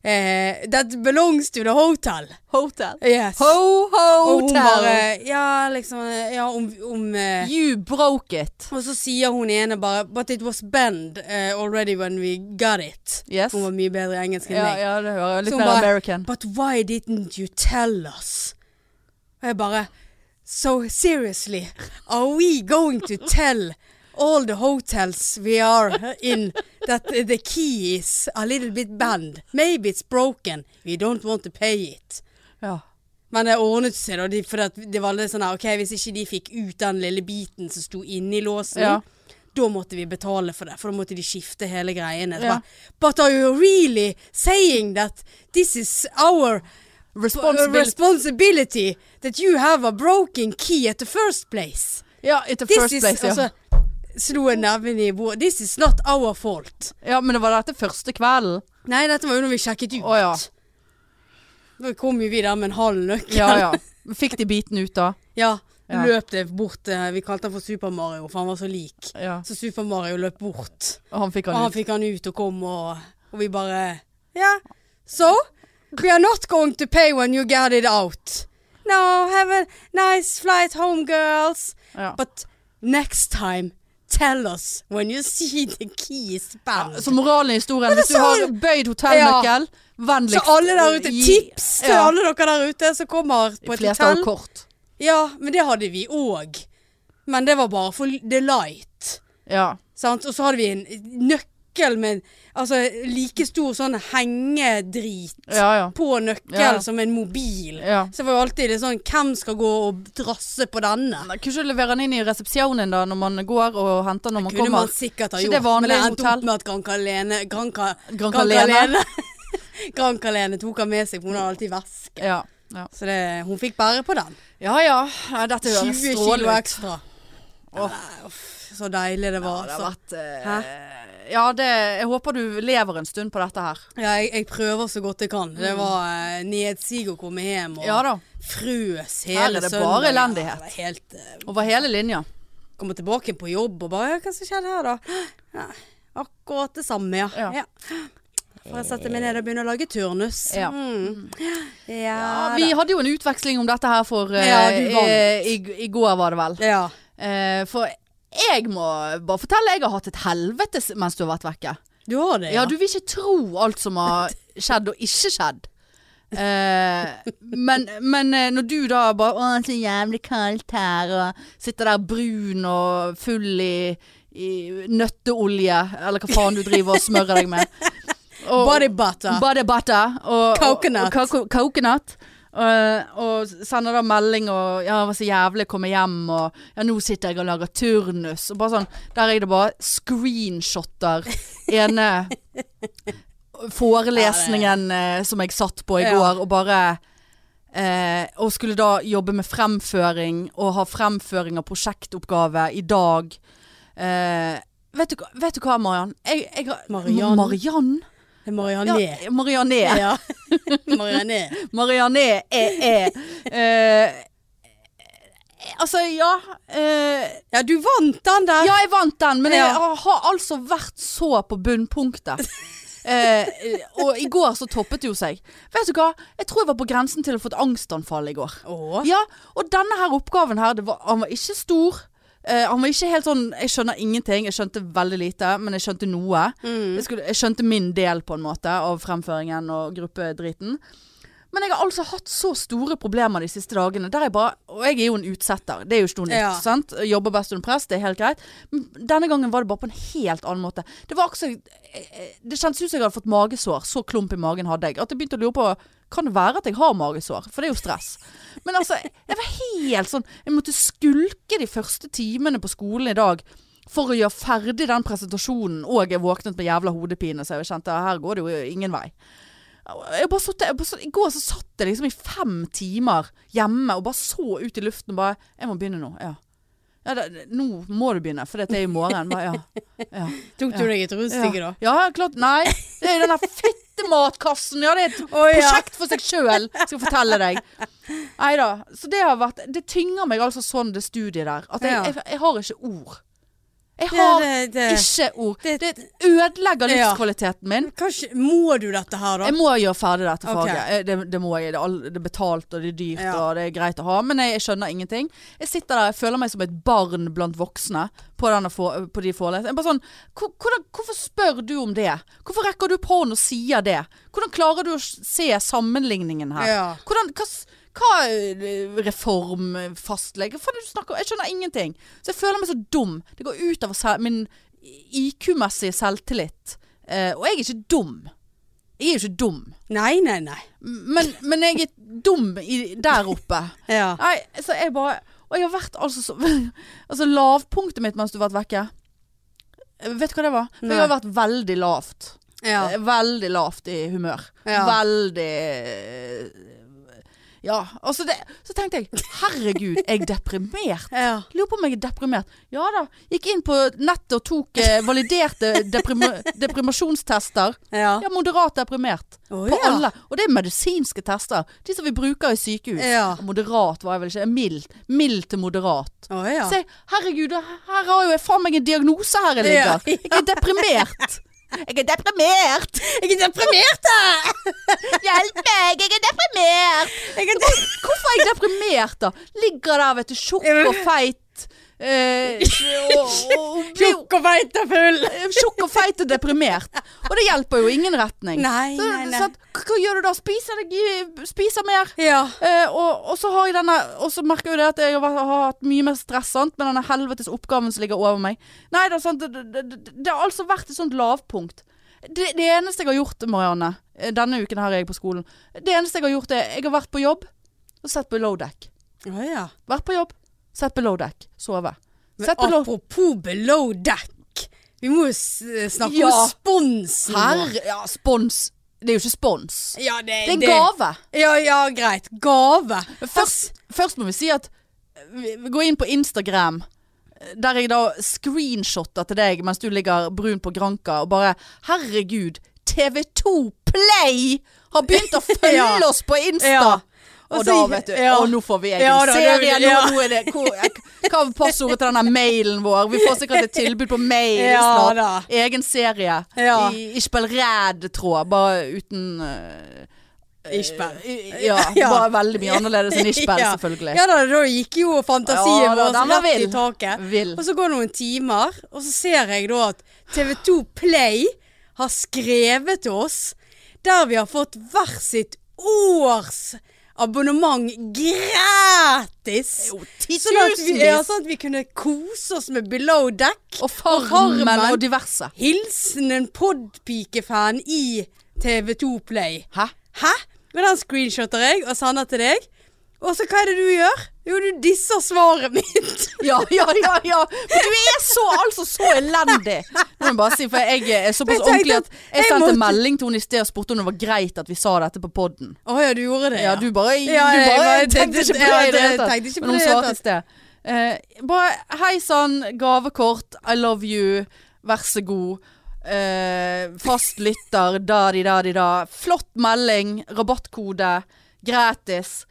[SPEAKER 1] eh, that belongs to the hotel?
[SPEAKER 2] Hotel.
[SPEAKER 1] Yes. Og hun
[SPEAKER 2] Ho-hotel.
[SPEAKER 1] bare Ja, liksom eh, Ja, om, om eh,
[SPEAKER 2] You broke it.
[SPEAKER 1] Og så sier hun ene bare But it was banned eh, already when we got it.
[SPEAKER 2] Yes.
[SPEAKER 1] Hun var mye bedre i engelsk enn
[SPEAKER 2] Ja,
[SPEAKER 1] meg.
[SPEAKER 2] ja, det hører jeg.
[SPEAKER 1] Så
[SPEAKER 2] Litt
[SPEAKER 1] hun
[SPEAKER 2] mer
[SPEAKER 1] bare-
[SPEAKER 2] American.
[SPEAKER 1] But why didn't you tell us? Og jeg bare So seriously, are we going to tell all the hotels we are in that the key is a little bit banned? Maybe it's broken. We don't want to pay it.
[SPEAKER 2] Ja.
[SPEAKER 1] Men det ordnet seg, da. de- For at det var litt sånn her, OK, hvis ikke de fikk ut den lille biten som sto inni låsen,
[SPEAKER 2] Ja.
[SPEAKER 1] da måtte vi betale for det. For da måtte de skifte hele greiene. Så
[SPEAKER 2] Ja.
[SPEAKER 1] bare, But are you really saying that this is our
[SPEAKER 2] Responsibility.
[SPEAKER 1] responsibility that you have a broken key at the first place?
[SPEAKER 2] Ja, in the
[SPEAKER 1] This
[SPEAKER 2] first
[SPEAKER 1] is,
[SPEAKER 2] place, ja.
[SPEAKER 1] altså, Slo jeg neven i bordet. This is not our fault.
[SPEAKER 2] ja. Men det var dette første kvelden.
[SPEAKER 1] Nei, dette var jo når vi sjekket ut.
[SPEAKER 2] Å, ja.
[SPEAKER 1] Da kom jo vi der med en halv nøkkel.
[SPEAKER 2] Ja, ja. Fikk de biten ut da?
[SPEAKER 1] Ja,
[SPEAKER 2] Ja.
[SPEAKER 1] løp det bort eh, Vi kalte han for Super Mario, for han var så lik.
[SPEAKER 2] Ja.
[SPEAKER 1] Så Super Mario løp bort.
[SPEAKER 2] Og han fikk
[SPEAKER 1] Og
[SPEAKER 2] han
[SPEAKER 1] han
[SPEAKER 2] ut.
[SPEAKER 1] fikk han ut og kom, og, og vi bare Ja, so? We are not going to pay when you get it out. No, have a nice flight home, girls.
[SPEAKER 2] Ja.
[SPEAKER 1] But next time, tell us when you see the key is banned.
[SPEAKER 2] Så moralen i historien, hvis du
[SPEAKER 1] så-
[SPEAKER 2] har bøyd hotellnøkkel,
[SPEAKER 1] så
[SPEAKER 2] vennligst
[SPEAKER 1] alle der ute,
[SPEAKER 2] gi-
[SPEAKER 1] tips til
[SPEAKER 2] ja.
[SPEAKER 1] alle dere der ute som kommer på
[SPEAKER 2] De
[SPEAKER 1] et
[SPEAKER 2] fleste har
[SPEAKER 1] hotell.
[SPEAKER 2] kort.
[SPEAKER 1] Ja, men det hadde vi òg. Men det var bare for the light.
[SPEAKER 2] Ja.
[SPEAKER 1] Sant? Og så hadde vi en nøkkel med altså, like stor sånn hengedrit
[SPEAKER 2] Ja, ja.
[SPEAKER 1] på nøkkel
[SPEAKER 2] Ja.
[SPEAKER 1] som en mobil.
[SPEAKER 2] ja.
[SPEAKER 1] Så det var jo alltid litt sånn Hvem skal gå og drasse på denne?
[SPEAKER 2] Nei, Kunne ikke du levere den inn i resepsjonen da, når man går og henter når man
[SPEAKER 1] Kunne man
[SPEAKER 2] kommer?
[SPEAKER 1] sikkert ha
[SPEAKER 2] Ikke
[SPEAKER 1] gjort, men
[SPEAKER 2] det
[SPEAKER 1] det
[SPEAKER 2] vanlige
[SPEAKER 1] endte
[SPEAKER 2] hotell?
[SPEAKER 1] opp med at Granca Lene Granca,
[SPEAKER 2] Gran
[SPEAKER 1] Gran
[SPEAKER 2] Canaria.
[SPEAKER 1] Lene tok han med seg, for hun har alltid væske.
[SPEAKER 2] Ja. Ja.
[SPEAKER 1] Så det, hun fikk bære på den.
[SPEAKER 2] ja ja. Nei, Dette høres
[SPEAKER 1] 20 kilo
[SPEAKER 2] strålende ut.
[SPEAKER 1] ekstra. Nei, uff, så deilig det var.
[SPEAKER 2] Ja, det
[SPEAKER 1] altså.
[SPEAKER 2] har vært eh, Ja, det Jeg håper du lever en stund på dette her.
[SPEAKER 1] Ja, jeg, jeg prøver så godt jeg kan. Det var eh, nedsig å komme hjem og
[SPEAKER 2] Mm. Ja da.
[SPEAKER 1] frøs hele
[SPEAKER 2] Her er det bare
[SPEAKER 1] søndagen.
[SPEAKER 2] elendighet.
[SPEAKER 1] Ja, det var helt eh,
[SPEAKER 2] Over hele linja.
[SPEAKER 1] Kommer tilbake på jobb og bare «Ja, 'Hva som skjedde her, da?' Ja, akkurat det samme, ja.
[SPEAKER 2] Ja.
[SPEAKER 1] ja. Får jeg sette meg ned og begynne å lage turnus.
[SPEAKER 2] Ja.
[SPEAKER 1] Mm. ja,
[SPEAKER 2] Ja, vi
[SPEAKER 1] da.
[SPEAKER 2] hadde jo en utveksling om dette her for eh,
[SPEAKER 1] Ja, du vant.
[SPEAKER 2] eh, i, I går var det vel.
[SPEAKER 1] ja.
[SPEAKER 2] Eh, for jeg må bare fortelle, jeg har hatt et helvetes mens du har vært vekke.
[SPEAKER 1] Du har det,
[SPEAKER 2] Ja, du vil ikke tro alt som har skjedd og ikke skjedd. Eh, men, men eh, når du da bare Å, så jævlig kaldt her, og sitter der brun og full i, i nøtteolje, eller hva faen du driver og smører deg med. Og-
[SPEAKER 1] Body butter.
[SPEAKER 2] Body butter og
[SPEAKER 1] Coconut.
[SPEAKER 2] Og, kako- coconut. Og, og sender da melding og 'Ja, det var så jævlig å komme hjem', og 'Ja, nå sitter jeg og lager turnus'. Og bare sånn Der er det bare screenshotter ene forelesningen eh, som jeg satt på i
[SPEAKER 1] Ja.
[SPEAKER 2] går, og bare eh, Og skulle da jobbe med fremføring, og ha fremføring av prosjektoppgave i dag. Eh, vet, du, hva- vet du hva, Mariann? Jeg, jeg, har-
[SPEAKER 1] Mariann.
[SPEAKER 2] Mariann?
[SPEAKER 1] det er Marianne. Ja.
[SPEAKER 2] Ja, Marianne. Ja.
[SPEAKER 1] Ja. Marianne.
[SPEAKER 2] Marianne er, er. Eh, Altså, ja. eh,
[SPEAKER 1] Ja, du vant den der.
[SPEAKER 2] ja, jeg vant den, men jeg
[SPEAKER 1] Ja.
[SPEAKER 2] har altså vært så på bunnpunktet. Eh, og i går så toppet det jo seg. Vet du hva? Jeg tror jeg var på grensen til å få et angstanfall i går.
[SPEAKER 1] Å.
[SPEAKER 2] Ja, og denne her oppgaven her, det var, han var ikke stor. Eh, han var ikke helt sånn Jeg skjønner ingenting. Jeg skjønte veldig lite, men jeg skjønte noe.
[SPEAKER 1] Mm.
[SPEAKER 2] Jeg, skulle, jeg skjønte min del på en måte av fremføringen og gruppedriten. Men jeg har altså hatt så store problemer de siste dagene. Der jeg bare, og jeg er jo en utsetter. Det er jo ikke noe nytt.
[SPEAKER 1] Ja.
[SPEAKER 2] sant? Jobber best under press, det er helt greit. Men denne gangen var det bare på en helt annen måte. Det var akkurat Det kjentes ut som jeg hadde fått magesår. Så klump i magen hadde jeg. At jeg begynte å lure på Kan det være at jeg har magesår? For det er jo stress. Men altså, jeg var helt sånn Jeg måtte skulke de første timene på skolen i dag for å gjøre ferdig den presentasjonen, og jeg våknet med jævla hodepine, så jeg kjente her går det jo ingen vei. Jeg bare satt, jeg bare satt, I går så satt jeg liksom i fem timer hjemme og bare så ut i luften og bare Jeg må begynne nå. Ja. ja det, nå må du begynne, for dette er i morgen. Bare, ja. ja.
[SPEAKER 1] Tok du deg et russtykke, da?
[SPEAKER 2] ja. Ja, klart. Nei. Det er jo den der fittematkassen. Ja, det er et
[SPEAKER 1] Å ja.
[SPEAKER 2] prosjekt for seg sjøl, skal jeg fortelle deg. Nei da. Så det har vært Det tynger meg altså sånn, det studiet der. At jeg,
[SPEAKER 1] Ja.
[SPEAKER 2] jeg, jeg har ikke ord. Jeg
[SPEAKER 1] Det,
[SPEAKER 2] har
[SPEAKER 1] det, det.
[SPEAKER 2] ikke ord.
[SPEAKER 1] det-
[SPEAKER 2] Det ødelegger
[SPEAKER 1] Ja.
[SPEAKER 2] livskvaliteten min.
[SPEAKER 1] Kanskje, må du dette her, da?
[SPEAKER 2] Jeg må gjøre ferdig dette
[SPEAKER 1] Ok.
[SPEAKER 2] faget. Eh, Det, det må jeg. Det er, all, det er betalt, og det er dyrt,
[SPEAKER 1] Ja.
[SPEAKER 2] og det er greit å ha. Men jeg, jeg skjønner ingenting. Jeg sitter der, jeg føler meg som et barn blant voksne på, denne for, på de forelesningene. Jeg er Bare sånn, hvor- hvordan, hvorfor spør du om det? Hvorfor rekker du opp hånden og sier det? Hvordan klarer du å s- se sammenligningen her?
[SPEAKER 1] Ja.
[SPEAKER 2] Hvordan, hva, s- hva eh, reform, eh, fastlege? Hva faen er det du snakker om? Jeg skjønner ingenting. Så jeg føler meg så dum. Det går ut over selv, min IQ-messige selvtillit. Eh, og jeg er ikke dum. Jeg er jo ikke dum.
[SPEAKER 1] Nei, nei, nei.
[SPEAKER 2] Men, men jeg er dum i, der oppe.
[SPEAKER 1] Ja.
[SPEAKER 2] Nei, så jeg bare Og jeg har vært altså så Altså lavpunktet mitt mens du har vært vekke. Eh, Vet du hva det var? For
[SPEAKER 1] Nei.
[SPEAKER 2] jeg har vært veldig lavt.
[SPEAKER 1] ja.
[SPEAKER 2] Eh, Veldig lavt i humør.
[SPEAKER 1] Ja.
[SPEAKER 2] Veldig eh, Ja. Altså det, så tenkte jeg Herregud, jeg er deprimert.
[SPEAKER 1] ja.
[SPEAKER 2] Lurer på om jeg er deprimert. Ja da. Gikk inn på nettet og tok eh, validerte deprima- deprimasjonstester.
[SPEAKER 1] Ja.
[SPEAKER 2] Ja, moderat deprimert.
[SPEAKER 1] Å,
[SPEAKER 2] På
[SPEAKER 1] ja.
[SPEAKER 2] alle. Og det er medisinske tester. De som vi bruker i sykehus.
[SPEAKER 1] Ja.
[SPEAKER 2] Moderat var jeg vel ikke. Mild. Mild til moderat.
[SPEAKER 1] Å ja.
[SPEAKER 2] Se, herregud, her har jo jeg faen meg en diagnose her jeg
[SPEAKER 1] Ja.
[SPEAKER 2] ligger. Jeg er deprimert. Jeg er deprimert!
[SPEAKER 1] Jeg er deprimert!
[SPEAKER 2] Hjelp meg, jeg er deprimert!
[SPEAKER 1] Jeg er de-
[SPEAKER 2] Hvorfor er jeg deprimert, da? Ligger der, vet du, tjukk og feit. Eh, og, og, og,
[SPEAKER 1] tjukk og feit og full.
[SPEAKER 2] tjukk og feit og deprimert. Og det hjelper jo i ingen retning.
[SPEAKER 1] Nei,
[SPEAKER 2] Så-
[SPEAKER 1] nei, nei.
[SPEAKER 2] så at, hva gjør du da? Spiser, deg- spiser mer?
[SPEAKER 1] Ja.
[SPEAKER 2] Eh, og, og så har jeg denne Og så merker jeg jo det at jeg har, vært- har hatt mye mer stress sant? med denne helvetes oppgaven som ligger over meg. Nei, det, er sant, det, det, det, det har altså vært et sånt lavpunkt. Det, det eneste jeg har gjort, Marianne eh, Denne uken her er jeg på skolen. Det eneste jeg har gjort, er jeg har vært på jobb og sett på Below Deck.
[SPEAKER 1] Å ja.
[SPEAKER 2] Vært på jobb, sett Below Deck. Sove.
[SPEAKER 1] Men
[SPEAKER 2] Sett Below
[SPEAKER 1] apropos below deck. Vi må jo s- eh, snakke
[SPEAKER 2] Ja.
[SPEAKER 1] om sponsen. vår.
[SPEAKER 2] Herre Ja, spons. Det er jo ikke spons.
[SPEAKER 1] Ja, det,
[SPEAKER 2] Det er en gave.
[SPEAKER 1] Ja, ja, greit. Gave.
[SPEAKER 2] Men Først, først må vi si at vi vi går inn på Instagram, der jeg da screenshotter til deg mens du ligger brun på granka og bare Herregud, TV2 Play har begynt å følge
[SPEAKER 1] Ja.
[SPEAKER 2] oss på Insta!
[SPEAKER 1] Ja.
[SPEAKER 2] Og,
[SPEAKER 1] Og
[SPEAKER 2] da
[SPEAKER 1] så-
[SPEAKER 2] vet du
[SPEAKER 1] ja.
[SPEAKER 2] Å, nå får vi egen
[SPEAKER 1] Ja da, det-
[SPEAKER 2] serie! Nå,
[SPEAKER 1] ja.
[SPEAKER 2] nå er det hvor, jeg, Sjekk av passordet til denne mailen vår. Vi får sikkert et tilbud på mail
[SPEAKER 1] Ja
[SPEAKER 2] snart.
[SPEAKER 1] da.
[SPEAKER 2] Egen serie.
[SPEAKER 1] Ja.
[SPEAKER 2] I, ikke bare ræd, tråd. Bare uten eh,
[SPEAKER 1] Ischberg.
[SPEAKER 2] i- Ja,
[SPEAKER 1] Ja.
[SPEAKER 2] bare veldig mye annerledes enn Ishbell,
[SPEAKER 1] Ja.
[SPEAKER 2] selvfølgelig.
[SPEAKER 1] Ja da, da gikk jo fantasien
[SPEAKER 2] Ja da, den
[SPEAKER 1] vår
[SPEAKER 2] var
[SPEAKER 1] rett i
[SPEAKER 2] vill.
[SPEAKER 1] taket.
[SPEAKER 2] Vill.
[SPEAKER 1] Og så går det noen timer, og så ser jeg da at TV2 Play har skrevet til oss der vi har fått hver sitt års abonnement gratis.
[SPEAKER 2] Jo,
[SPEAKER 1] Sånn at vi, ja,
[SPEAKER 2] tusenvis!
[SPEAKER 1] sånn at vi kunne kose oss med Below Deck.
[SPEAKER 2] Og Farmen
[SPEAKER 1] Farmen.
[SPEAKER 2] og diverse.
[SPEAKER 1] Hilsen en podpikefan i TV2 Play.
[SPEAKER 2] Hæ?
[SPEAKER 1] Hæ? Men den screenshotter jeg og sender til deg. Og så hva er det du gjør? Jo, du disser svaret mitt.
[SPEAKER 2] Ja, ja, ja, ja. Men du er så, altså, så elendig. Nå må jeg bare si, for jeg er
[SPEAKER 1] Men jeg
[SPEAKER 2] såpass
[SPEAKER 1] tenkte
[SPEAKER 2] ordentlig
[SPEAKER 1] at
[SPEAKER 2] at jeg
[SPEAKER 1] jeg
[SPEAKER 2] sendte
[SPEAKER 1] måtte-
[SPEAKER 2] melding til henne i sted og spurte om det var greit at vi sa dette på poden.
[SPEAKER 1] Å ja, du gjorde det?
[SPEAKER 2] Ja, du bare,
[SPEAKER 1] Ja,
[SPEAKER 2] du
[SPEAKER 1] jeg
[SPEAKER 2] bare
[SPEAKER 1] bare-
[SPEAKER 2] tenkte
[SPEAKER 1] det-
[SPEAKER 2] ikke på
[SPEAKER 1] ja,
[SPEAKER 2] det i det
[SPEAKER 1] jeg
[SPEAKER 2] hele
[SPEAKER 1] tenkte
[SPEAKER 2] tatt.
[SPEAKER 1] ikke på
[SPEAKER 2] Men hun
[SPEAKER 1] det i det hele
[SPEAKER 2] svarte i sted. Eh, bare hei sann, gavekort, I love you, vær så god. Eh, fast lytter, da-di-da-di-da. Flott melding, rabattkode, gratis.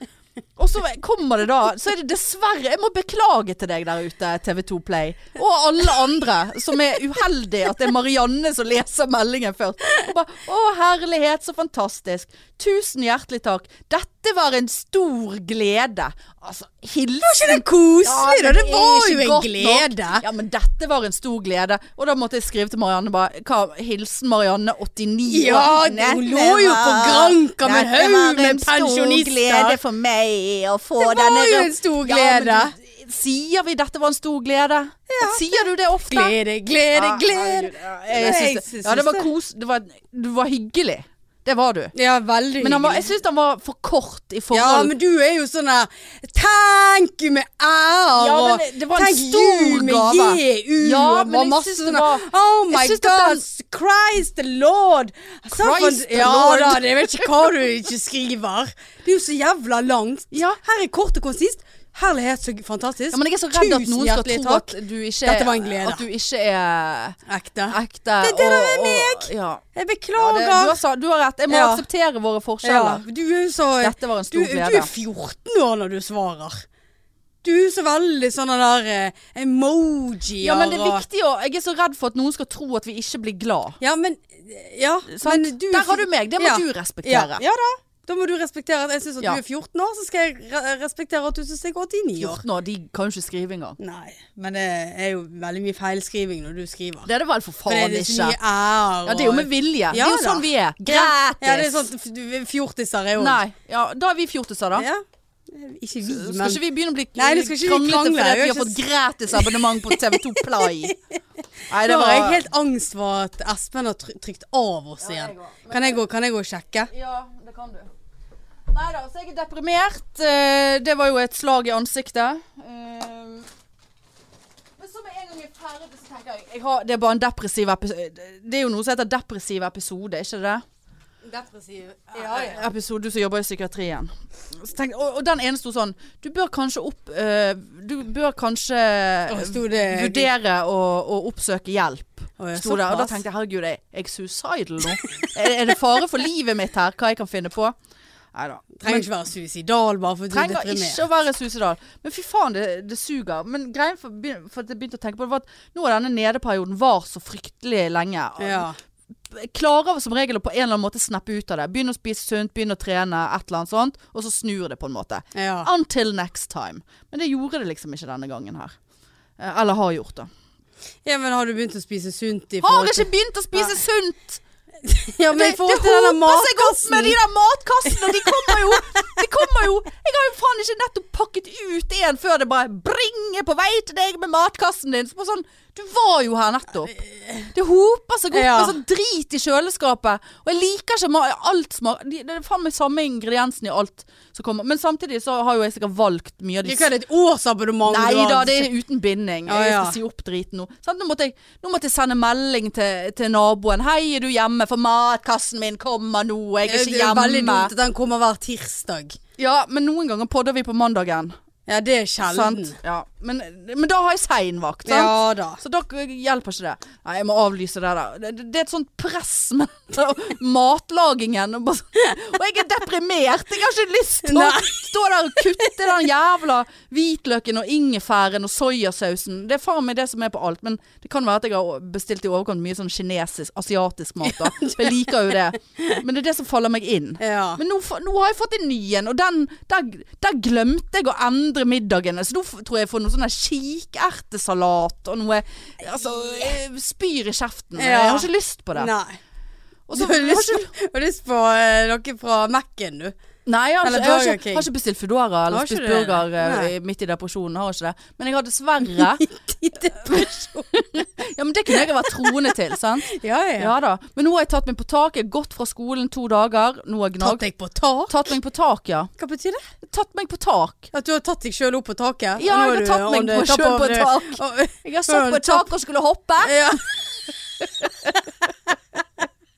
[SPEAKER 2] Og så kommer det da, så er det dessverre Jeg må beklage til deg der ute, TV2 Play. Og alle andre som er uheldige at det er Marianne som leser meldingen først. Og bare, Å, herlighet, så fantastisk. Tusen hjertelig takk. Dette var en stor glede. Altså, hilsen
[SPEAKER 1] Det er koselig, da.
[SPEAKER 2] men
[SPEAKER 1] Det var
[SPEAKER 2] er
[SPEAKER 1] jo
[SPEAKER 2] ikke
[SPEAKER 1] en
[SPEAKER 2] godt
[SPEAKER 1] glede.
[SPEAKER 2] Nok. Ja, men dette var en stor glede. Og da måtte jeg skrive til Marianne bare hva, Hilsen Marianne 89
[SPEAKER 1] Ja,
[SPEAKER 2] år.
[SPEAKER 1] hun
[SPEAKER 2] Dette
[SPEAKER 1] lå jo på
[SPEAKER 2] var-
[SPEAKER 1] Granka med
[SPEAKER 2] dette
[SPEAKER 1] haug
[SPEAKER 2] var
[SPEAKER 1] med
[SPEAKER 2] en stor
[SPEAKER 1] pensjonister.
[SPEAKER 2] glede for meg å få
[SPEAKER 1] Det
[SPEAKER 2] denne
[SPEAKER 1] var jo
[SPEAKER 2] ra-
[SPEAKER 1] en stor
[SPEAKER 2] Ja, men
[SPEAKER 1] glede.
[SPEAKER 2] du- sier vi 'dette var en stor glede'? Sier du det ofte?
[SPEAKER 1] Glede, glede,
[SPEAKER 2] Ja,
[SPEAKER 1] glede.
[SPEAKER 2] herregud, ja, Jeg syns det. Ja, det var kos... Det var, du var hyggelig. Det var du.
[SPEAKER 1] Ja, veldig
[SPEAKER 2] Men han var, jeg
[SPEAKER 1] hyggelig.
[SPEAKER 2] syns han var for kort i forhold
[SPEAKER 1] Ja, men du er jo sånn der Tenk you med ære
[SPEAKER 2] Ja, men
[SPEAKER 1] og
[SPEAKER 2] det- det var en
[SPEAKER 1] tenk
[SPEAKER 2] stor
[SPEAKER 1] you med
[SPEAKER 2] gave.
[SPEAKER 1] JU
[SPEAKER 2] Ja,
[SPEAKER 1] og
[SPEAKER 2] men jeg
[SPEAKER 1] masse
[SPEAKER 2] synes det
[SPEAKER 1] sånne-
[SPEAKER 2] var-
[SPEAKER 1] Oh my
[SPEAKER 2] jeg synes at
[SPEAKER 1] God,
[SPEAKER 2] den-
[SPEAKER 1] Christ the Lord. Så for-
[SPEAKER 2] Christ the
[SPEAKER 1] ja,
[SPEAKER 2] Lord.
[SPEAKER 1] da, jeg vet ikke hva du ikke skriver. Det er jo så jævla langt.
[SPEAKER 2] Ja.
[SPEAKER 1] Her er kort og konsist. Herlighet, så fantastisk.
[SPEAKER 2] Ja, men jeg er så redd at
[SPEAKER 1] Tusen
[SPEAKER 2] noen skal
[SPEAKER 1] hjertelig
[SPEAKER 2] tro
[SPEAKER 1] takk.
[SPEAKER 2] at du ikke,
[SPEAKER 1] Dette var en glede.
[SPEAKER 2] at du ikke er
[SPEAKER 1] Ekte.
[SPEAKER 2] ekte.
[SPEAKER 1] Det- det der er
[SPEAKER 2] meg! Og, ja.
[SPEAKER 1] Jeg
[SPEAKER 2] Ja,
[SPEAKER 1] beklager.
[SPEAKER 2] det, du, har, sa- du har rett. Jeg må
[SPEAKER 1] Ja.
[SPEAKER 2] akseptere våre
[SPEAKER 1] Ja,
[SPEAKER 2] forskjeller.
[SPEAKER 1] du er jo så
[SPEAKER 2] Dette var
[SPEAKER 1] du,
[SPEAKER 2] en stor
[SPEAKER 1] du
[SPEAKER 2] glede.
[SPEAKER 1] er 14 år når du svarer. Du er så veldig sånn den der eh, emojier
[SPEAKER 2] Ja, men det er
[SPEAKER 1] og-
[SPEAKER 2] viktig å Jeg er så redd for at noen skal tro at vi ikke blir glad.
[SPEAKER 1] Ja, men Ja,
[SPEAKER 2] Sant?
[SPEAKER 1] men du
[SPEAKER 2] Sånn, Der har du meg. Det må
[SPEAKER 1] Ja.
[SPEAKER 2] du respektere.
[SPEAKER 1] Ja, ja da. Da må du respektere at jeg syns at
[SPEAKER 2] Ja.
[SPEAKER 1] du er 14 år, så skal jeg re respektere at du syns jeg er 89 år.
[SPEAKER 2] 14 år, de kan jo ikke skrive engang.
[SPEAKER 1] Nei, men det er jo veldig mye feilskriving når du skriver.
[SPEAKER 2] Det er det vel for
[SPEAKER 1] For det
[SPEAKER 2] faen
[SPEAKER 1] er så
[SPEAKER 2] ikke.
[SPEAKER 1] mye ære
[SPEAKER 2] Ja, det er jo med vilje. det
[SPEAKER 1] Ja
[SPEAKER 2] er jo
[SPEAKER 1] da.
[SPEAKER 2] sånn vi er.
[SPEAKER 1] Ja, det er
[SPEAKER 2] Gratis.
[SPEAKER 1] sånn at f- fjortiser er jo
[SPEAKER 2] Nei. Ja, da er vi fjortiser, da.
[SPEAKER 1] Ja. Ikke vi,
[SPEAKER 2] Skal
[SPEAKER 1] men
[SPEAKER 2] ikke vi begynne å bli
[SPEAKER 1] Nei, nå skal ikke vi krangle,
[SPEAKER 2] fordi at
[SPEAKER 1] vi har
[SPEAKER 2] vi har fått
[SPEAKER 1] ikke
[SPEAKER 2] gratis abonnement på TV2 Play? Nei,
[SPEAKER 1] Da har jeg helt angst for at Espen har try- trykt av oss
[SPEAKER 2] Ja, jeg
[SPEAKER 1] igjen.
[SPEAKER 2] går.
[SPEAKER 1] Kan jeg gå, kan jeg gå og sjekke?
[SPEAKER 2] Ja, det kan du. Nei da, så jeg er deprimert. Eh, Det var jo et slag i ansiktet. Eh, Men så med en gang jeg er ferdig, så tenker jeg, jeg har, Det er bare en depressiv episode Det er jo noe som heter depressiv episode, er ikke det?
[SPEAKER 1] Depressiv.
[SPEAKER 2] episode, du som jobber i psykiatrien. Så tenkte, og, og den ene sto sånn Du bør kanskje opp eh, Du bør kanskje
[SPEAKER 1] Å, sto det-
[SPEAKER 2] vurdere å, å oppsøke hjelp.
[SPEAKER 1] Å, ja,
[SPEAKER 2] Sto det, og da
[SPEAKER 1] såpass.
[SPEAKER 2] tenkte jeg herregud, er jeg suicidal nå? er, er det fare for livet mitt her? Hva jeg kan finne på? Nei da.
[SPEAKER 1] Trenger ikke være suicidal bare for at du er
[SPEAKER 2] Trenger
[SPEAKER 1] deprimert.
[SPEAKER 2] ikke å være suicidal. Men fy faen, det, det suger. Men greien for, begyn- for at jeg begynte å tenke på det, var at nå har denne nedeperioden var så fryktelig lenge.
[SPEAKER 1] Ja.
[SPEAKER 2] klarer som regel å på en eller annen måte snappe ut av det. Begynne å spise sunt, begynne å trene, et eller annet sånt. Og så snur det på en måte.
[SPEAKER 1] ja.
[SPEAKER 2] Until next time. Men det gjorde det liksom ikke denne gangen her. Eh, Eller har gjort det.
[SPEAKER 1] ja, men har du begynt å spise sunt i
[SPEAKER 2] Har
[SPEAKER 1] forhold til
[SPEAKER 2] ikke begynt å spise sunt!
[SPEAKER 1] Ja, men i
[SPEAKER 2] Det, det
[SPEAKER 1] forhold til denne
[SPEAKER 2] hoper seg opp
[SPEAKER 1] matkassen
[SPEAKER 2] med de der matkassene! De kommer jo! De kommer jo! Jeg har jo faen ikke nettopp pakket ut en før det bare bringer på vei til deg med matkassen din! Så bare sånn, Du var jo her nettopp! Det hoper seg opp
[SPEAKER 1] Ja.
[SPEAKER 2] med sånn drit i kjøleskapet. Og jeg liker ikke ma- alt smak de- Det er faen meg samme ingrediensen i alt som kommer. Men samtidig så har jo jeg sikkert valgt mye av de
[SPEAKER 1] Ikke hva er det et årsabonnement du
[SPEAKER 2] Nei
[SPEAKER 1] har?
[SPEAKER 2] da, det er uten binding.
[SPEAKER 1] Ja, ja.
[SPEAKER 2] Jeg skal si opp driten nå. Sant? nå, måtte jeg, nå måtte jeg sende melding til, til naboen. 'Hei, er du hjemme? For matkassen min kommer nå. Jeg er
[SPEAKER 1] Det
[SPEAKER 2] ikke
[SPEAKER 1] er jo veldig
[SPEAKER 2] hjemme.'
[SPEAKER 1] dumt at den kommer hver tirsdag.
[SPEAKER 2] Ja, men noen ganger podder vi på mandagen.
[SPEAKER 1] Ja, det er sjelden.
[SPEAKER 2] Sant? Ja. Men, men da har jeg seinvakt, sant?
[SPEAKER 1] Ja da.
[SPEAKER 2] Så da hjelper ikke det. Nei, jeg må avlyse det der. Det, det- det er et sånt press med matlagingen. Og, bare, sånn- og jeg er deprimert! Jeg har ikke lyst til å
[SPEAKER 1] Nei.
[SPEAKER 2] stå der og kutte den jævla hvitløken og ingefæren og soyasausen. Det er faen meg det som er på alt. Men det kan være at jeg har bestilt i overkant mye sånn kinesisk, asiatisk mat. da. Jeg liker jo det. Men det er det som faller meg inn.
[SPEAKER 1] Ja.
[SPEAKER 2] Men nå, fa- nå har jeg fått en ny en, og den, der, der glemte jeg å endre middagen. Så nå f- tror jeg jeg får noe sånn der kikertesalat og noe altså, eh, Spyr i kjeften.
[SPEAKER 1] Ja.
[SPEAKER 2] Jeg har ikke lyst på det.
[SPEAKER 1] Nei.
[SPEAKER 2] Og
[SPEAKER 1] Du
[SPEAKER 2] så,
[SPEAKER 1] har
[SPEAKER 2] jeg har
[SPEAKER 1] lyst,
[SPEAKER 2] ikke,
[SPEAKER 1] du har lyst på eh, noe fra Mac-en, du.
[SPEAKER 2] nei, jeg har
[SPEAKER 1] Eller
[SPEAKER 2] ikke, jeg har
[SPEAKER 1] Burger
[SPEAKER 2] ikke,
[SPEAKER 1] King.
[SPEAKER 2] har ikke bestilt Foodora
[SPEAKER 1] Har
[SPEAKER 2] eller
[SPEAKER 1] ikke
[SPEAKER 2] spist
[SPEAKER 1] det?
[SPEAKER 2] burger eh,
[SPEAKER 1] Nei.
[SPEAKER 2] midt i depresjonen. Har ikke det. Men jeg har dessverre Ja, men det kunne jeg ha vært troende til, sant?
[SPEAKER 1] Ja, ja.
[SPEAKER 2] Ja da. Men nå har jeg tatt meg på tak. Jeg har gått fra skolen to dager. Nå har jeg
[SPEAKER 1] Tatt
[SPEAKER 2] gnagd.
[SPEAKER 1] deg på tak?
[SPEAKER 2] Tatt meg på tak, ja.
[SPEAKER 1] Hva betyr det?
[SPEAKER 2] Tatt meg på tak.
[SPEAKER 1] At du har tatt deg sjøl opp på taket?
[SPEAKER 2] Ja,
[SPEAKER 1] og nå
[SPEAKER 2] jeg
[SPEAKER 1] er
[SPEAKER 2] har tatt
[SPEAKER 1] du on
[SPEAKER 2] meg
[SPEAKER 1] the
[SPEAKER 2] på
[SPEAKER 1] top
[SPEAKER 2] sjøl på
[SPEAKER 1] of the-
[SPEAKER 2] tak.
[SPEAKER 1] Og-
[SPEAKER 2] Jeg har satt på et tak og skulle hoppe.